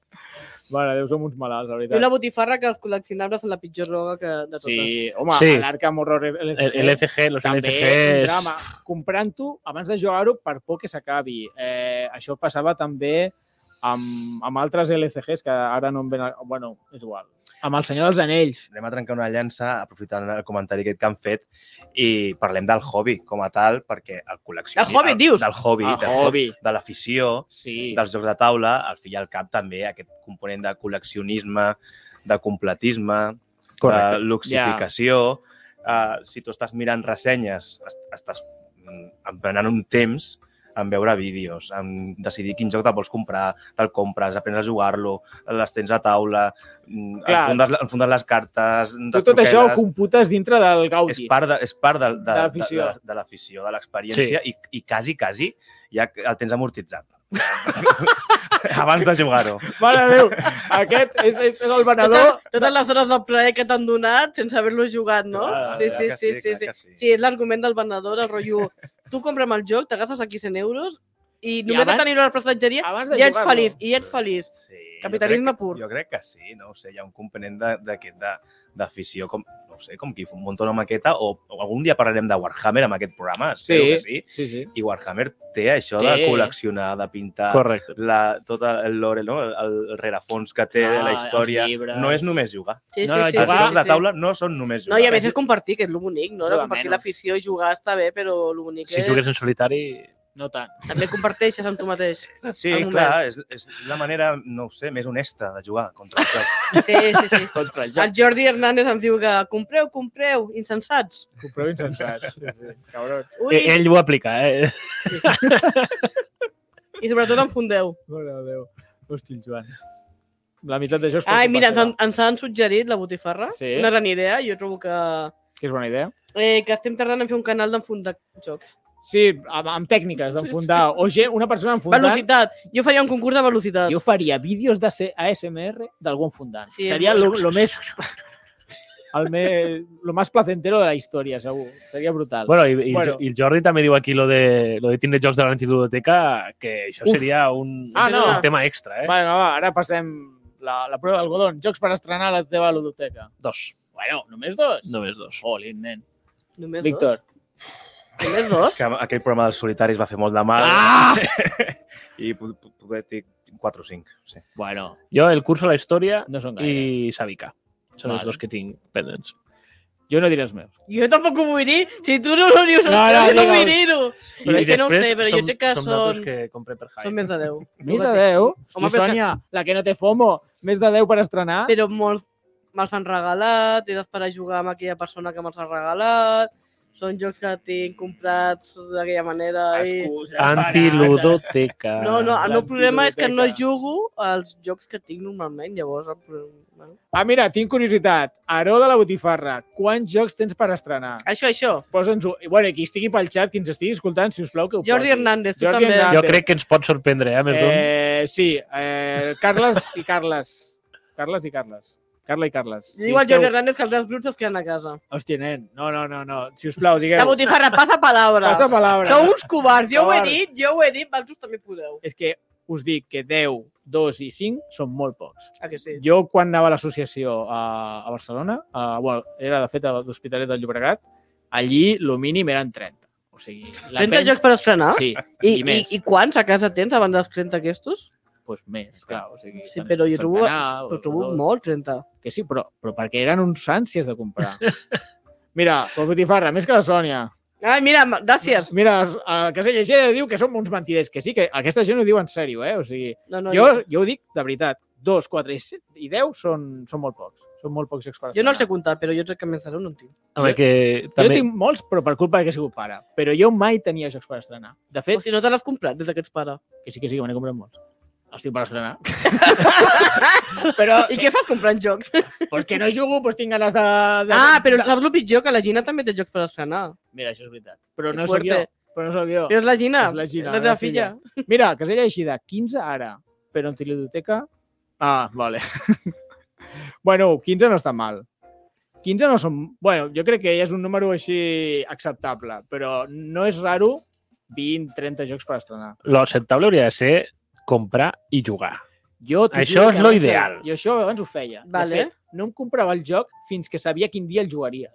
Speaker 1: Mare, Déu, som uns malalts, la
Speaker 4: I
Speaker 1: veritat.
Speaker 4: una botifarra que els col·leccionables són la pitjor droga que de totes.
Speaker 1: Sí, home, sí.
Speaker 3: Sí.
Speaker 1: l'Arkham Horror LCG,
Speaker 3: El, el FG, los
Speaker 1: també és un drama.
Speaker 3: LFGs...
Speaker 1: Comprant-ho abans de jugar-ho per por que s'acabi. Eh, això passava també amb, amb altres LCGs que ara no em ven... Bueno, és igual. Amb el Senyor dels Anells.
Speaker 2: anem a trencar una llança aprofitant el comentari aquest que han fet i parlem del hobby com a tal, perquè el col·lecció...
Speaker 4: Del hobby, dius?
Speaker 2: Del hobby,
Speaker 3: Ah,
Speaker 1: El
Speaker 2: del
Speaker 1: Ah, hobby.
Speaker 2: de l'afició,
Speaker 1: Sí.
Speaker 2: dels jocs de taula, al fi i al cap també aquest component de col·leccionisme, de completisme,
Speaker 3: Correcte.
Speaker 2: de luxificació. Eh, si tu estàs mirant ressenyes, est- estàs mm, emprenent un temps en veure vídeos, en decidir quin joc te'l vols comprar, te'l compres, aprens a jugar-lo, les tens a taula, mm,
Speaker 1: Clar.
Speaker 2: enfundes, enfundes les cartes...
Speaker 1: Tu tot això ho computes dintre del Gaudi.
Speaker 2: és part de, és part de, de,
Speaker 1: De
Speaker 2: de,
Speaker 1: l'afició.
Speaker 2: de, de l'afició, de l'experiència sí. i, i quasi, quasi ja el tens amortitzat. Abans de jugar-ho.
Speaker 1: Mare de Déu, aquest és, és, és el venedor.
Speaker 4: Totes, totes les hores de plaer que t'han donat sense haver-lo jugat, no?
Speaker 2: Clar,
Speaker 4: sí,
Speaker 2: clar
Speaker 4: sí,
Speaker 2: Ah, que
Speaker 4: sí, sí,
Speaker 2: clar
Speaker 4: sí.
Speaker 2: que sí.
Speaker 4: Sí, és l'argument del venedor, el rotllo... Tu compra'm el joc, te gastes aquí 100 euros i només de
Speaker 1: abans-
Speaker 4: tenir-ho a la prestatgeria
Speaker 1: Abans Ah, de
Speaker 4: ja ets
Speaker 1: jugar-lo.
Speaker 4: feliç, i ja ets feliç.
Speaker 2: Sí,
Speaker 4: Capitalisme
Speaker 2: jo crec,
Speaker 4: pur.
Speaker 2: Jo crec que sí, no ho sé, hi ha un component de- d'aquest de- d'afició, com, no ho sé, com qui munta una maqueta, o, o algun dia parlarem de Warhammer amb aquest programa, espero sí. que sí.
Speaker 1: sí, sí.
Speaker 2: I Warhammer té això
Speaker 1: Té.
Speaker 2: de col·leccionar, de pintar,
Speaker 3: Correcte.
Speaker 2: la, tot el lore, no? el, el rerefons que té de la
Speaker 1: Ah,
Speaker 2: història.
Speaker 1: els llibres.
Speaker 2: No és només jugar.
Speaker 4: Sí,
Speaker 1: No, no,
Speaker 4: sí, sí,
Speaker 2: Els
Speaker 1: jugar-
Speaker 4: sí,
Speaker 2: jocs
Speaker 4: sí,
Speaker 2: de
Speaker 4: sí.
Speaker 2: taula no són només
Speaker 4: No,
Speaker 2: jugar.
Speaker 4: i a més és compartir, que és lo bonic, no?
Speaker 1: Això de
Speaker 4: Compartir
Speaker 1: menys.
Speaker 4: l'afició i jugar està bé, però lo bonic
Speaker 3: Si
Speaker 4: és...
Speaker 3: jugues en solitari...
Speaker 1: No tant.
Speaker 4: També comparteixes amb tu mateix.
Speaker 2: Sí,
Speaker 4: Al moment.
Speaker 2: clar, és, és la manera, no ho sé, més honesta de jugar contra el joc.
Speaker 4: Sí, sí, sí.
Speaker 1: Contra el
Speaker 4: El
Speaker 1: joc.
Speaker 4: Jordi Hernández ens diu que compreu, compreu, insensats.
Speaker 1: Compreu insensats. Sí, sí. Cabrons.
Speaker 4: Ui,
Speaker 3: Eh, Ell ho aplica, eh?
Speaker 4: i sobretot enfondeu.
Speaker 1: Mare de Déu. Hosti, el Joan. La meitat d'això és per
Speaker 4: Ai,
Speaker 1: culpa
Speaker 4: mira, doncs- ens,
Speaker 1: seva,
Speaker 4: han- ens han suggerit la botifarra.
Speaker 1: Sí.
Speaker 4: Una gran idea. Jo trobo que,
Speaker 1: Que és bona idea.
Speaker 4: eh, que estem tardant en fer un canal d'enfundar jocs.
Speaker 1: Sí, amb, amb tècniques d'enfundar. O gent, una persona enfundant.
Speaker 4: Velocitat. Jo faria un concurs de velocitat.
Speaker 1: Jo faria vídeos de ser ASMR d'algú enfundant.
Speaker 4: Sí,
Speaker 1: Sí, Seria
Speaker 4: és
Speaker 1: lo, lo més... El més, lo más placentero de la història, segur. Seria brutal.
Speaker 3: Bueno, i, i,
Speaker 1: Bueno.
Speaker 3: bueno. i el Jordi també diu aquí lo de, lo de tindre jocs de la biblioteca, que això
Speaker 1: Uf.
Speaker 3: seria un,
Speaker 1: Ah,
Speaker 4: no.
Speaker 3: un tema extra, eh?
Speaker 1: Bueno, va, ara passem la, la prova d'algodon. Jocs per estrenar a la teva ludoteca.
Speaker 3: Dos.
Speaker 1: Bueno, només dos?
Speaker 3: Només dos.
Speaker 1: Jolín, nen.
Speaker 4: Només
Speaker 1: Víctor.
Speaker 4: dos. Només dos?
Speaker 2: que aquell programa dels solitaris va fer molt de mal.
Speaker 1: Ah!
Speaker 2: I po- po- poder dir 4 o 5. Sí.
Speaker 1: Bueno,
Speaker 3: Jo, el curso de la història
Speaker 1: no són gaires. I...
Speaker 3: i Sabica. Són
Speaker 1: Vale.
Speaker 3: els dos que tinc pendents.
Speaker 1: Jo no diré els meus.
Speaker 4: Jo tampoc ho vull dir. Si tu no ho dius,
Speaker 1: No, no,
Speaker 4: no, no, no vull
Speaker 1: digue'ls.
Speaker 4: dir-ho. Però és que no ho sé, però jo crec que
Speaker 3: són...
Speaker 4: són,
Speaker 3: Són que compré per
Speaker 4: són
Speaker 3: Hype.
Speaker 4: més de 10.
Speaker 1: Més de 10? Hosti,
Speaker 4: Home, però és que-
Speaker 1: Sònia, la que no té FOMO. Més de 10 per estrenar?
Speaker 4: Però molts me'ls han regalat, he d'esperar a jugar amb aquella persona que me'ls ha regalat, són jocs que tinc comprats d'aquella manera i...
Speaker 1: Excuses barates.
Speaker 3: Antiludoteca.
Speaker 4: eh? No, no, el meu
Speaker 1: la
Speaker 4: problema és que no
Speaker 1: biblioteca.
Speaker 4: jugo als jocs que tinc normalment, llavors... El problema... bueno.
Speaker 1: Ah, mira, tinc curiositat. Aró de la botifarra, quants jocs tens per estrenar?
Speaker 4: Això, això.
Speaker 1: Posa'ns-ho. I, Bueno, i qui estigui pel xat, qui ens estigui escoltant, si us plau, que ho
Speaker 4: Jordi
Speaker 1: posi.
Speaker 4: Hernández, tu
Speaker 1: Jordi
Speaker 4: també.
Speaker 1: Hernández.
Speaker 3: Jo crec que ens pot sorprendre, eh, més d'un.
Speaker 1: Eh, sí, eh, Carles i Carles. Carles i Carles. Carla i Carles.
Speaker 4: Sí, Diu al Jordi Hernández que els meus grups es queden a casa.
Speaker 1: Hòstia, nen. No, no, no, no. Si us plau,
Speaker 4: La
Speaker 1: digueu.
Speaker 4: botifarra, passa palabra.
Speaker 1: Passa palabra.
Speaker 4: Sou uns covards, jo ho he
Speaker 1: Covards.
Speaker 4: dit, jo ho he dit, vosaltres també podeu.
Speaker 1: És que us dic que 10, 2 i 5 són molt pocs.
Speaker 4: Ah, que sí?
Speaker 1: Jo, quan anava a l'associació a, a Barcelona, a, bueno, era de fet a l'Hospitalet del Llobregat, allí el mínim eren 30. O sigui,
Speaker 4: 30
Speaker 1: penya-
Speaker 4: jocs per estrenar?
Speaker 1: Sí,
Speaker 4: I,
Speaker 1: i
Speaker 4: i,
Speaker 1: més.
Speaker 4: I quants a casa tens abans dels 30 aquests?
Speaker 1: doncs més, clar. O sigui,
Speaker 4: Sí, però jo trobo-
Speaker 1: centenar,
Speaker 4: Ho trobo
Speaker 1: dos.
Speaker 4: molt, 30.
Speaker 1: Que sí, però, però perquè eren uns ànsies de comprar. Mira, la botifarra, més que la Sònia.
Speaker 4: Ai, mira, m- gràcies.
Speaker 1: Mira, el que se llegeix diu que som uns mentiders, que sí, que aquesta gent ho diu en sèrio, eh? O sigui,
Speaker 4: No, no,
Speaker 1: jo, jo ho dic de veritat. Dos, quatre i, set, i deu són, són molt pocs. Són molt pocs experts.
Speaker 4: jo no els he comptat, però jo crec que més serà un tio.
Speaker 3: Home, que
Speaker 1: Jo
Speaker 3: també...
Speaker 1: tinc molts, però per culpa de que he sigut pare. Però jo mai tenia jocs per estrenar. De
Speaker 4: O
Speaker 1: fet,
Speaker 4: sigui, no te l'has comprat des d'aquests pares.
Speaker 1: que sí que sí, que me n'he comprat molts. Els tinc per estrenar. però,
Speaker 4: I què fas comprant jocs?
Speaker 1: pues que no jugo, pues tinc ganes de... de
Speaker 4: Ah, però
Speaker 1: de...
Speaker 4: saps el pitjor? Que la Gina també té jocs per estrenar.
Speaker 1: Mira, això és veritat. Però
Speaker 4: Que
Speaker 1: no sóc jo.
Speaker 4: fuerte.
Speaker 1: Però no sóc jo.
Speaker 4: Però és la Gina,
Speaker 1: És la Gina, la
Speaker 4: la teva
Speaker 1: meva
Speaker 4: filla.
Speaker 1: Mira, casella així de 15 ara, però en Tilidoteca... Ah, vale. bueno, 15 no està mal. 15 no són... Bueno, jo crec que és un número així acceptable, però no és raro 20-30 jocs per estrenar.
Speaker 3: L'acceptable hauria de ser comprar i jugar.
Speaker 1: Jo t'ho
Speaker 3: Això
Speaker 1: juro
Speaker 3: és
Speaker 1: que
Speaker 3: lo
Speaker 1: abans-
Speaker 3: ideal.
Speaker 1: Jo això abans ho feia.
Speaker 4: Vale.
Speaker 1: De fet, no em comprava el joc fins que sabia quin dia el jugaria.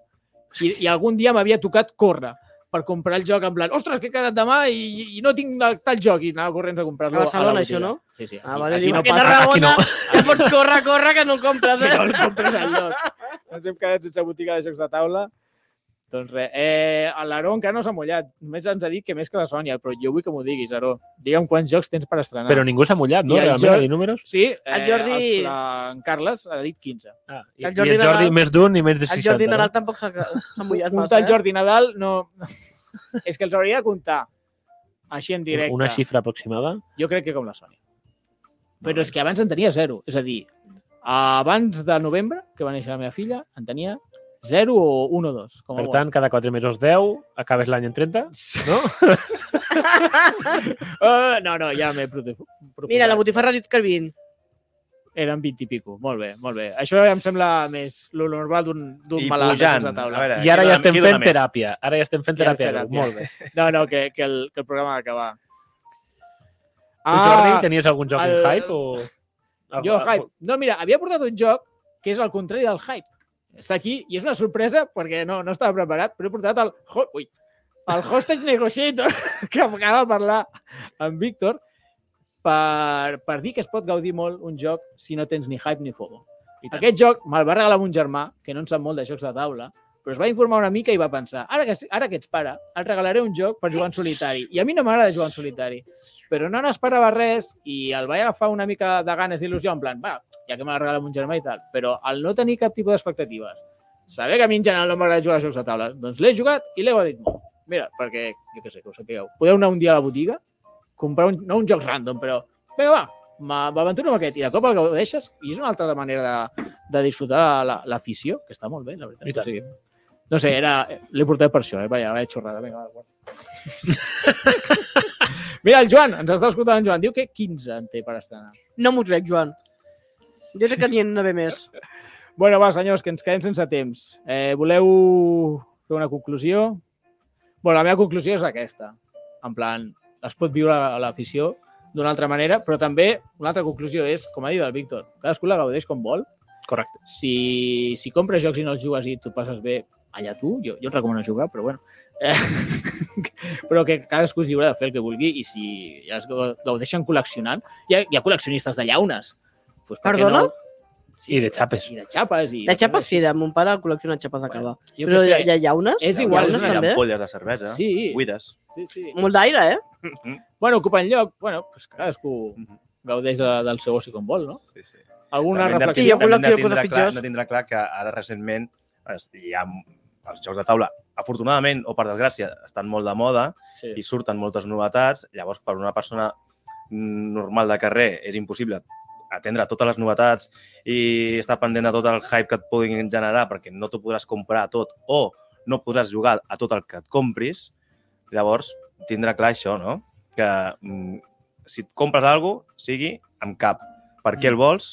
Speaker 1: I, i algun dia m'havia tocat córrer per comprar el joc en plan, ostres, que he quedat demà i, i no tinc el, tal joc i anava corrents a comprar-lo
Speaker 4: A
Speaker 1: la
Speaker 4: Barcelona,
Speaker 1: botiga.
Speaker 4: això, no?
Speaker 1: Sí, sí. Aquí,
Speaker 4: Ah, vale,
Speaker 1: aquí no
Speaker 4: que
Speaker 1: passa.
Speaker 4: Tarragona ja pots córrer, córrer, que no compres,
Speaker 1: que no el
Speaker 4: eh?
Speaker 1: compres al lloc. Ens hem quedat sense botiga de jocs de taula. Doncs res, eh, l'Aró encara no s'ha mullat. Només ens ha dit que més que la Sònia, però jo vull que m'ho diguis, Aró. Digue'm quants jocs tens per estrenar.
Speaker 3: Però ningú s'ha mullat, no?
Speaker 1: I el
Speaker 3: Realment,
Speaker 1: Jordi-
Speaker 3: a dir números.
Speaker 1: Sí, eh,
Speaker 4: El Jordi-
Speaker 1: el- la- en Carles ha dit 15.
Speaker 3: Ah, i,
Speaker 4: El Jordi
Speaker 3: el Jordi, i el Jordi
Speaker 4: Nadal-
Speaker 3: més d'un i més de
Speaker 4: El
Speaker 3: 60.
Speaker 4: Jordi
Speaker 3: no?
Speaker 4: Nadal tampoc s'ha s'ha mullat
Speaker 1: Comptar
Speaker 4: massa,
Speaker 1: el
Speaker 4: eh?
Speaker 1: Jordi Nadal no... És que els hauria de comptar així en directe.
Speaker 3: Una xifra aproximada.
Speaker 1: Jo crec que com la Sònia. Però és que abans en tenia zero. És a dir, abans de novembre, que va néixer la meva filla, en tenia zero o un o dos. Com a
Speaker 3: Per
Speaker 1: molt.
Speaker 3: tant, cada 4 mesos 10, acabes l'any en 30.
Speaker 1: No? uh, no, no, ja m'he prote- proposat.
Speaker 4: Mira, la botifarra ha dit que 20.
Speaker 1: Eren 20 i pico. Molt bé, molt bé. Això em sembla més lo normal d'un d'un
Speaker 2: I
Speaker 1: malalt.
Speaker 2: pujant.
Speaker 1: sense taula.
Speaker 2: A veure,
Speaker 3: I ara
Speaker 2: qui
Speaker 3: ja
Speaker 2: dona-
Speaker 3: estem
Speaker 2: qui dona
Speaker 3: fent
Speaker 2: més?
Speaker 3: teràpia. Ara ja estem fent
Speaker 1: Ja és
Speaker 3: teràpia.
Speaker 1: teràpia.
Speaker 3: Molt bé.
Speaker 1: No, no, que, que, el, que el programa ha d'acabar.
Speaker 3: Tu, Jordi, tenies algun joc en
Speaker 1: Ah, el-
Speaker 3: hype o...?
Speaker 1: jo hype. No, mira, havia portat un joc que és el contrari del hype. Està aquí i és una sorpresa perquè no, no estava preparat, però he portat el, ho- ui, el Hostage Negotiator que acaba de parlar amb Víctor per, per dir que es pot gaudir molt un joc si no tens ni hype ni fogo. I Aquest joc me'l va regalar mon germà, que no en sap molt de jocs de taula, però es va informar una mica i va pensar ara que, ara que ets pare, et regalaré un joc per jugar en solitari. I a mi no m'agrada jugar en solitari. Però no n'esperava res i el vaig agafar una mica de ganes d'il·lusió, en plan, va, ja que me l'ha regalat mon germà i tal. Però al no tenir cap tipus d'expectatives, saber que a mi en general no m'agrada jugar a jocs de taula, doncs l'he jugat i l'he dit molt. Mira, perquè, jo què sé, que ho sapigueu. Podeu anar un dia a la botiga, comprar un, no un joc random, però vinga, va, m'a- m'aventuro amb aquest i de cop el gaudeixes i és una altra manera de, de disfrutar la- l'afició, que està molt bé, la
Speaker 3: I
Speaker 1: veritat.
Speaker 3: tant.
Speaker 1: O sigui, no sé, era... L'he portat per això, eh? Vaja, vaja xorrada. Vinga, va, guarda. Mira, el Joan, ens està escoltant el Joan. Diu que 15 en té per estrenar.
Speaker 4: No m'ho crec, Joan. Jo crec que n'hi ha d'haver més.
Speaker 1: Bueno, va, senyors, que ens quedem sense temps. Eh, voleu fer una conclusió? Bueno, la meva conclusió és aquesta. En plan, es pot viure a l'afició d'una altra manera, però també una altra conclusió és, com ha dit el Víctor, cadascú la gaudeix com vol.
Speaker 3: Correcte.
Speaker 1: Si, si compres jocs i no els jugues i tu passes bé allà tu, jo, jo et recomano jugar, però bueno. Eh, però que cadascú és lliure de fer el que vulgui i si ja es gau- gaudeixen col·leccionant, hi ha, hi ha col·leccionistes de llaunes. Pues, per què
Speaker 4: Perdona?
Speaker 3: I de xapes.
Speaker 1: I de xapes. I
Speaker 4: De xapes sí, de mon pare col·lecciona xapes de cava.
Speaker 1: Jo
Speaker 4: Però
Speaker 1: què
Speaker 4: hi ha,
Speaker 1: sé,
Speaker 4: hi ha llaunes?
Speaker 1: És
Speaker 4: Hi ha
Speaker 1: igual, no?
Speaker 2: Hi ha
Speaker 4: llaunes
Speaker 2: unes
Speaker 4: també?
Speaker 2: ampolles de cervesa,
Speaker 1: Sí.
Speaker 2: buides.
Speaker 1: Sí, sí.
Speaker 4: Molt d'aire, eh?
Speaker 1: Bueno, ocupen lloc. Bueno, pues cadascú...
Speaker 2: Mhm.
Speaker 1: gaudeix de, del seu oci com vol, no?
Speaker 2: Sí, sí.
Speaker 1: Alguna
Speaker 2: També hem de-
Speaker 4: Sí, hi
Speaker 1: reflexió?
Speaker 4: ha algun
Speaker 2: també hem de tindre
Speaker 4: lector que
Speaker 2: clar-
Speaker 4: de pitjors.
Speaker 2: hem de tindre clar que ara recentment es- hi ha els jocs de taula, afortunadament o per desgràcia, estan molt de moda
Speaker 1: Sí.
Speaker 2: i surten moltes novetats. Llavors, per una persona normal de carrer és impossible atendre totes les novetats i estar pendent de tot el hype que et puguin generar perquè no t'ho podràs comprar tot o no podràs jugar a tot el que et compris. Llavors, tindre clar això, no? Que mm, si et compres alguna cosa, sigui amb cap. Per què el vols?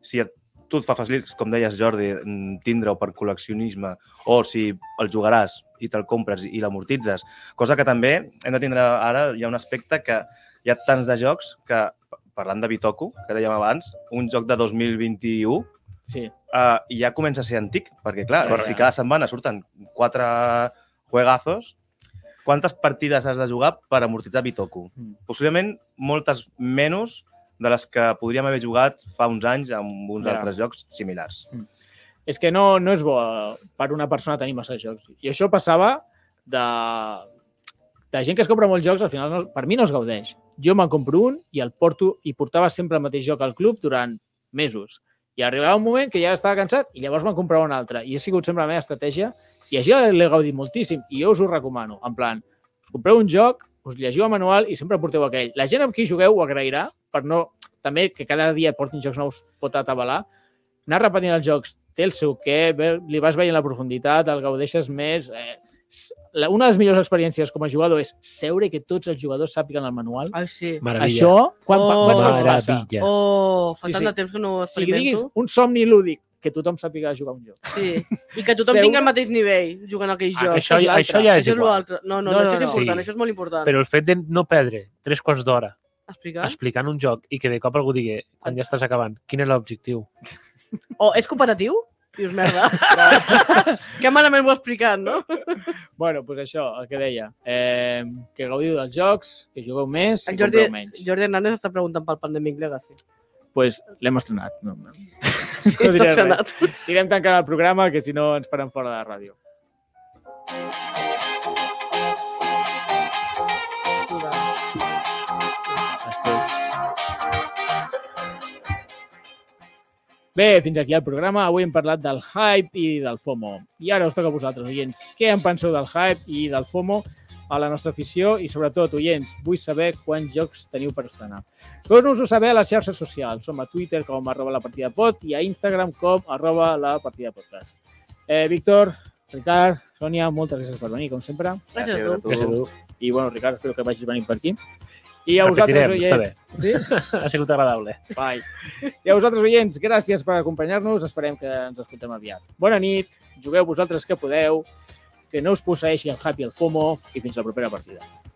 Speaker 2: Si et, tu et fa facilitar, com deies, Jordi, mm, tindre-ho per col·leccionisme o si el jugaràs i te'l compres i l'amortitzes. Cosa que també hem de tindre ara, hi ha un aspecte que hi ha tants de jocs que, parlant de Bitoku, que dèiem abans, un joc de 2021
Speaker 1: sí.
Speaker 2: uh, ja comença a ser antic, perquè clar,
Speaker 1: Correcte.
Speaker 2: si cada setmana surten quatre juegazos, quantes partides has de jugar per amortitzar Bitoku?
Speaker 1: Mm.
Speaker 2: Possiblement moltes menys de les que podríem haver jugat fa uns anys amb uns
Speaker 1: Ja.
Speaker 2: altres jocs similars.
Speaker 1: És que no, no és bo eh, per una persona tenir massa jocs. I això passava de, de gent que es compra molts jocs, al final no, per mi no es gaudeix. Jo me'n compro un i el porto i portava sempre el mateix joc al club durant mesos. I arribava un moment que ja estava cansat i llavors me'n comprava un altre. I ha sigut sempre la meva estratègia i això l'he gaudit moltíssim i jo us ho recomano. En plan, us compreu un joc, us llegiu el manual i sempre porteu aquell. La gent amb qui jugueu ho agrairà per no... També que cada dia et portin jocs nous pot atabalar. Anar repetint els jocs té el seu què, ve- li vas veient la profunditat, el gaudeixes més... Eh, s- la- una de les millors experiències com a jugador és seure i que tots els jugadors sàpiguen el manual.
Speaker 4: Ai, sí.
Speaker 3: Meravella.
Speaker 1: Això, quan, oh,
Speaker 4: Oh.
Speaker 1: quan, quan passa?
Speaker 3: Meravella.
Speaker 4: Oh, fa
Speaker 1: Sí,
Speaker 4: tant
Speaker 1: sí.
Speaker 4: de temps que no ho
Speaker 1: Si diguis
Speaker 4: experimento.
Speaker 1: un somni lúdic, que tothom sàpiga jugar a un joc.
Speaker 4: Sí. I que tothom
Speaker 1: Seu-
Speaker 4: tingui el mateix nivell jugant a aquell
Speaker 3: Ah,
Speaker 4: joc.
Speaker 3: això,
Speaker 1: és l'altre.
Speaker 3: això ja és
Speaker 4: Això és
Speaker 3: igual.
Speaker 4: l'altre. No, no,
Speaker 1: No,
Speaker 4: no,
Speaker 1: no,
Speaker 4: això és
Speaker 1: no.
Speaker 4: important,
Speaker 3: Sí.
Speaker 4: això és molt important.
Speaker 3: Però el fet de no perdre tres quarts d'hora
Speaker 4: Explicar?
Speaker 3: explicant un joc i que de cop algú digui, quan ja estàs acabant, quin és l'objectiu?
Speaker 4: O és cooperatiu? Dius, merda. que malament ho he explicat, no?
Speaker 1: bueno, doncs això, el que deia. Eh, que gaudiu dels jocs, que jugueu més i
Speaker 4: El Jordi,
Speaker 1: compreu menys.
Speaker 4: Jordi Hernández està preguntant pel Pandemic Legacy.
Speaker 1: Doncs pues, l'hem estrenat. No, no.
Speaker 4: Sí,
Speaker 1: diré
Speaker 4: s'ha
Speaker 1: res.
Speaker 4: sonat.
Speaker 1: Anirem tancant el programa, que si no ens faran fora de la ràdio. Després. Bé, fins aquí el programa. Avui hem parlat del hype i del FOMO. I ara us toca a vosaltres, oients. Què en penseu del hype i del FOMO a la nostra afició? I sobretot, oients, vull saber quants jocs teniu per estrenar. Torno-us-ho saber a les xarxes socials. Som a Twitter com arroba la partida pot i a Instagram com arroba la partida podcast. Eh, Víctor, Ricard, Sònia, moltes gràcies per venir, com sempre.
Speaker 4: Gràcies a tu.
Speaker 3: Gràcies a tu.
Speaker 1: I, bueno, Ricard, espero que vagis venint per aquí. I a vosaltres,
Speaker 3: Repetirem, està
Speaker 1: oients... Sí?
Speaker 3: Ha sigut agradable.
Speaker 1: Bye. I a vosaltres, oients, gràcies per acompanyar-nos. Esperem que ens escoltem aviat. Bona nit, jugueu vosaltres que podeu, que no us posseixi el Happy el FOMO i fins la propera partida.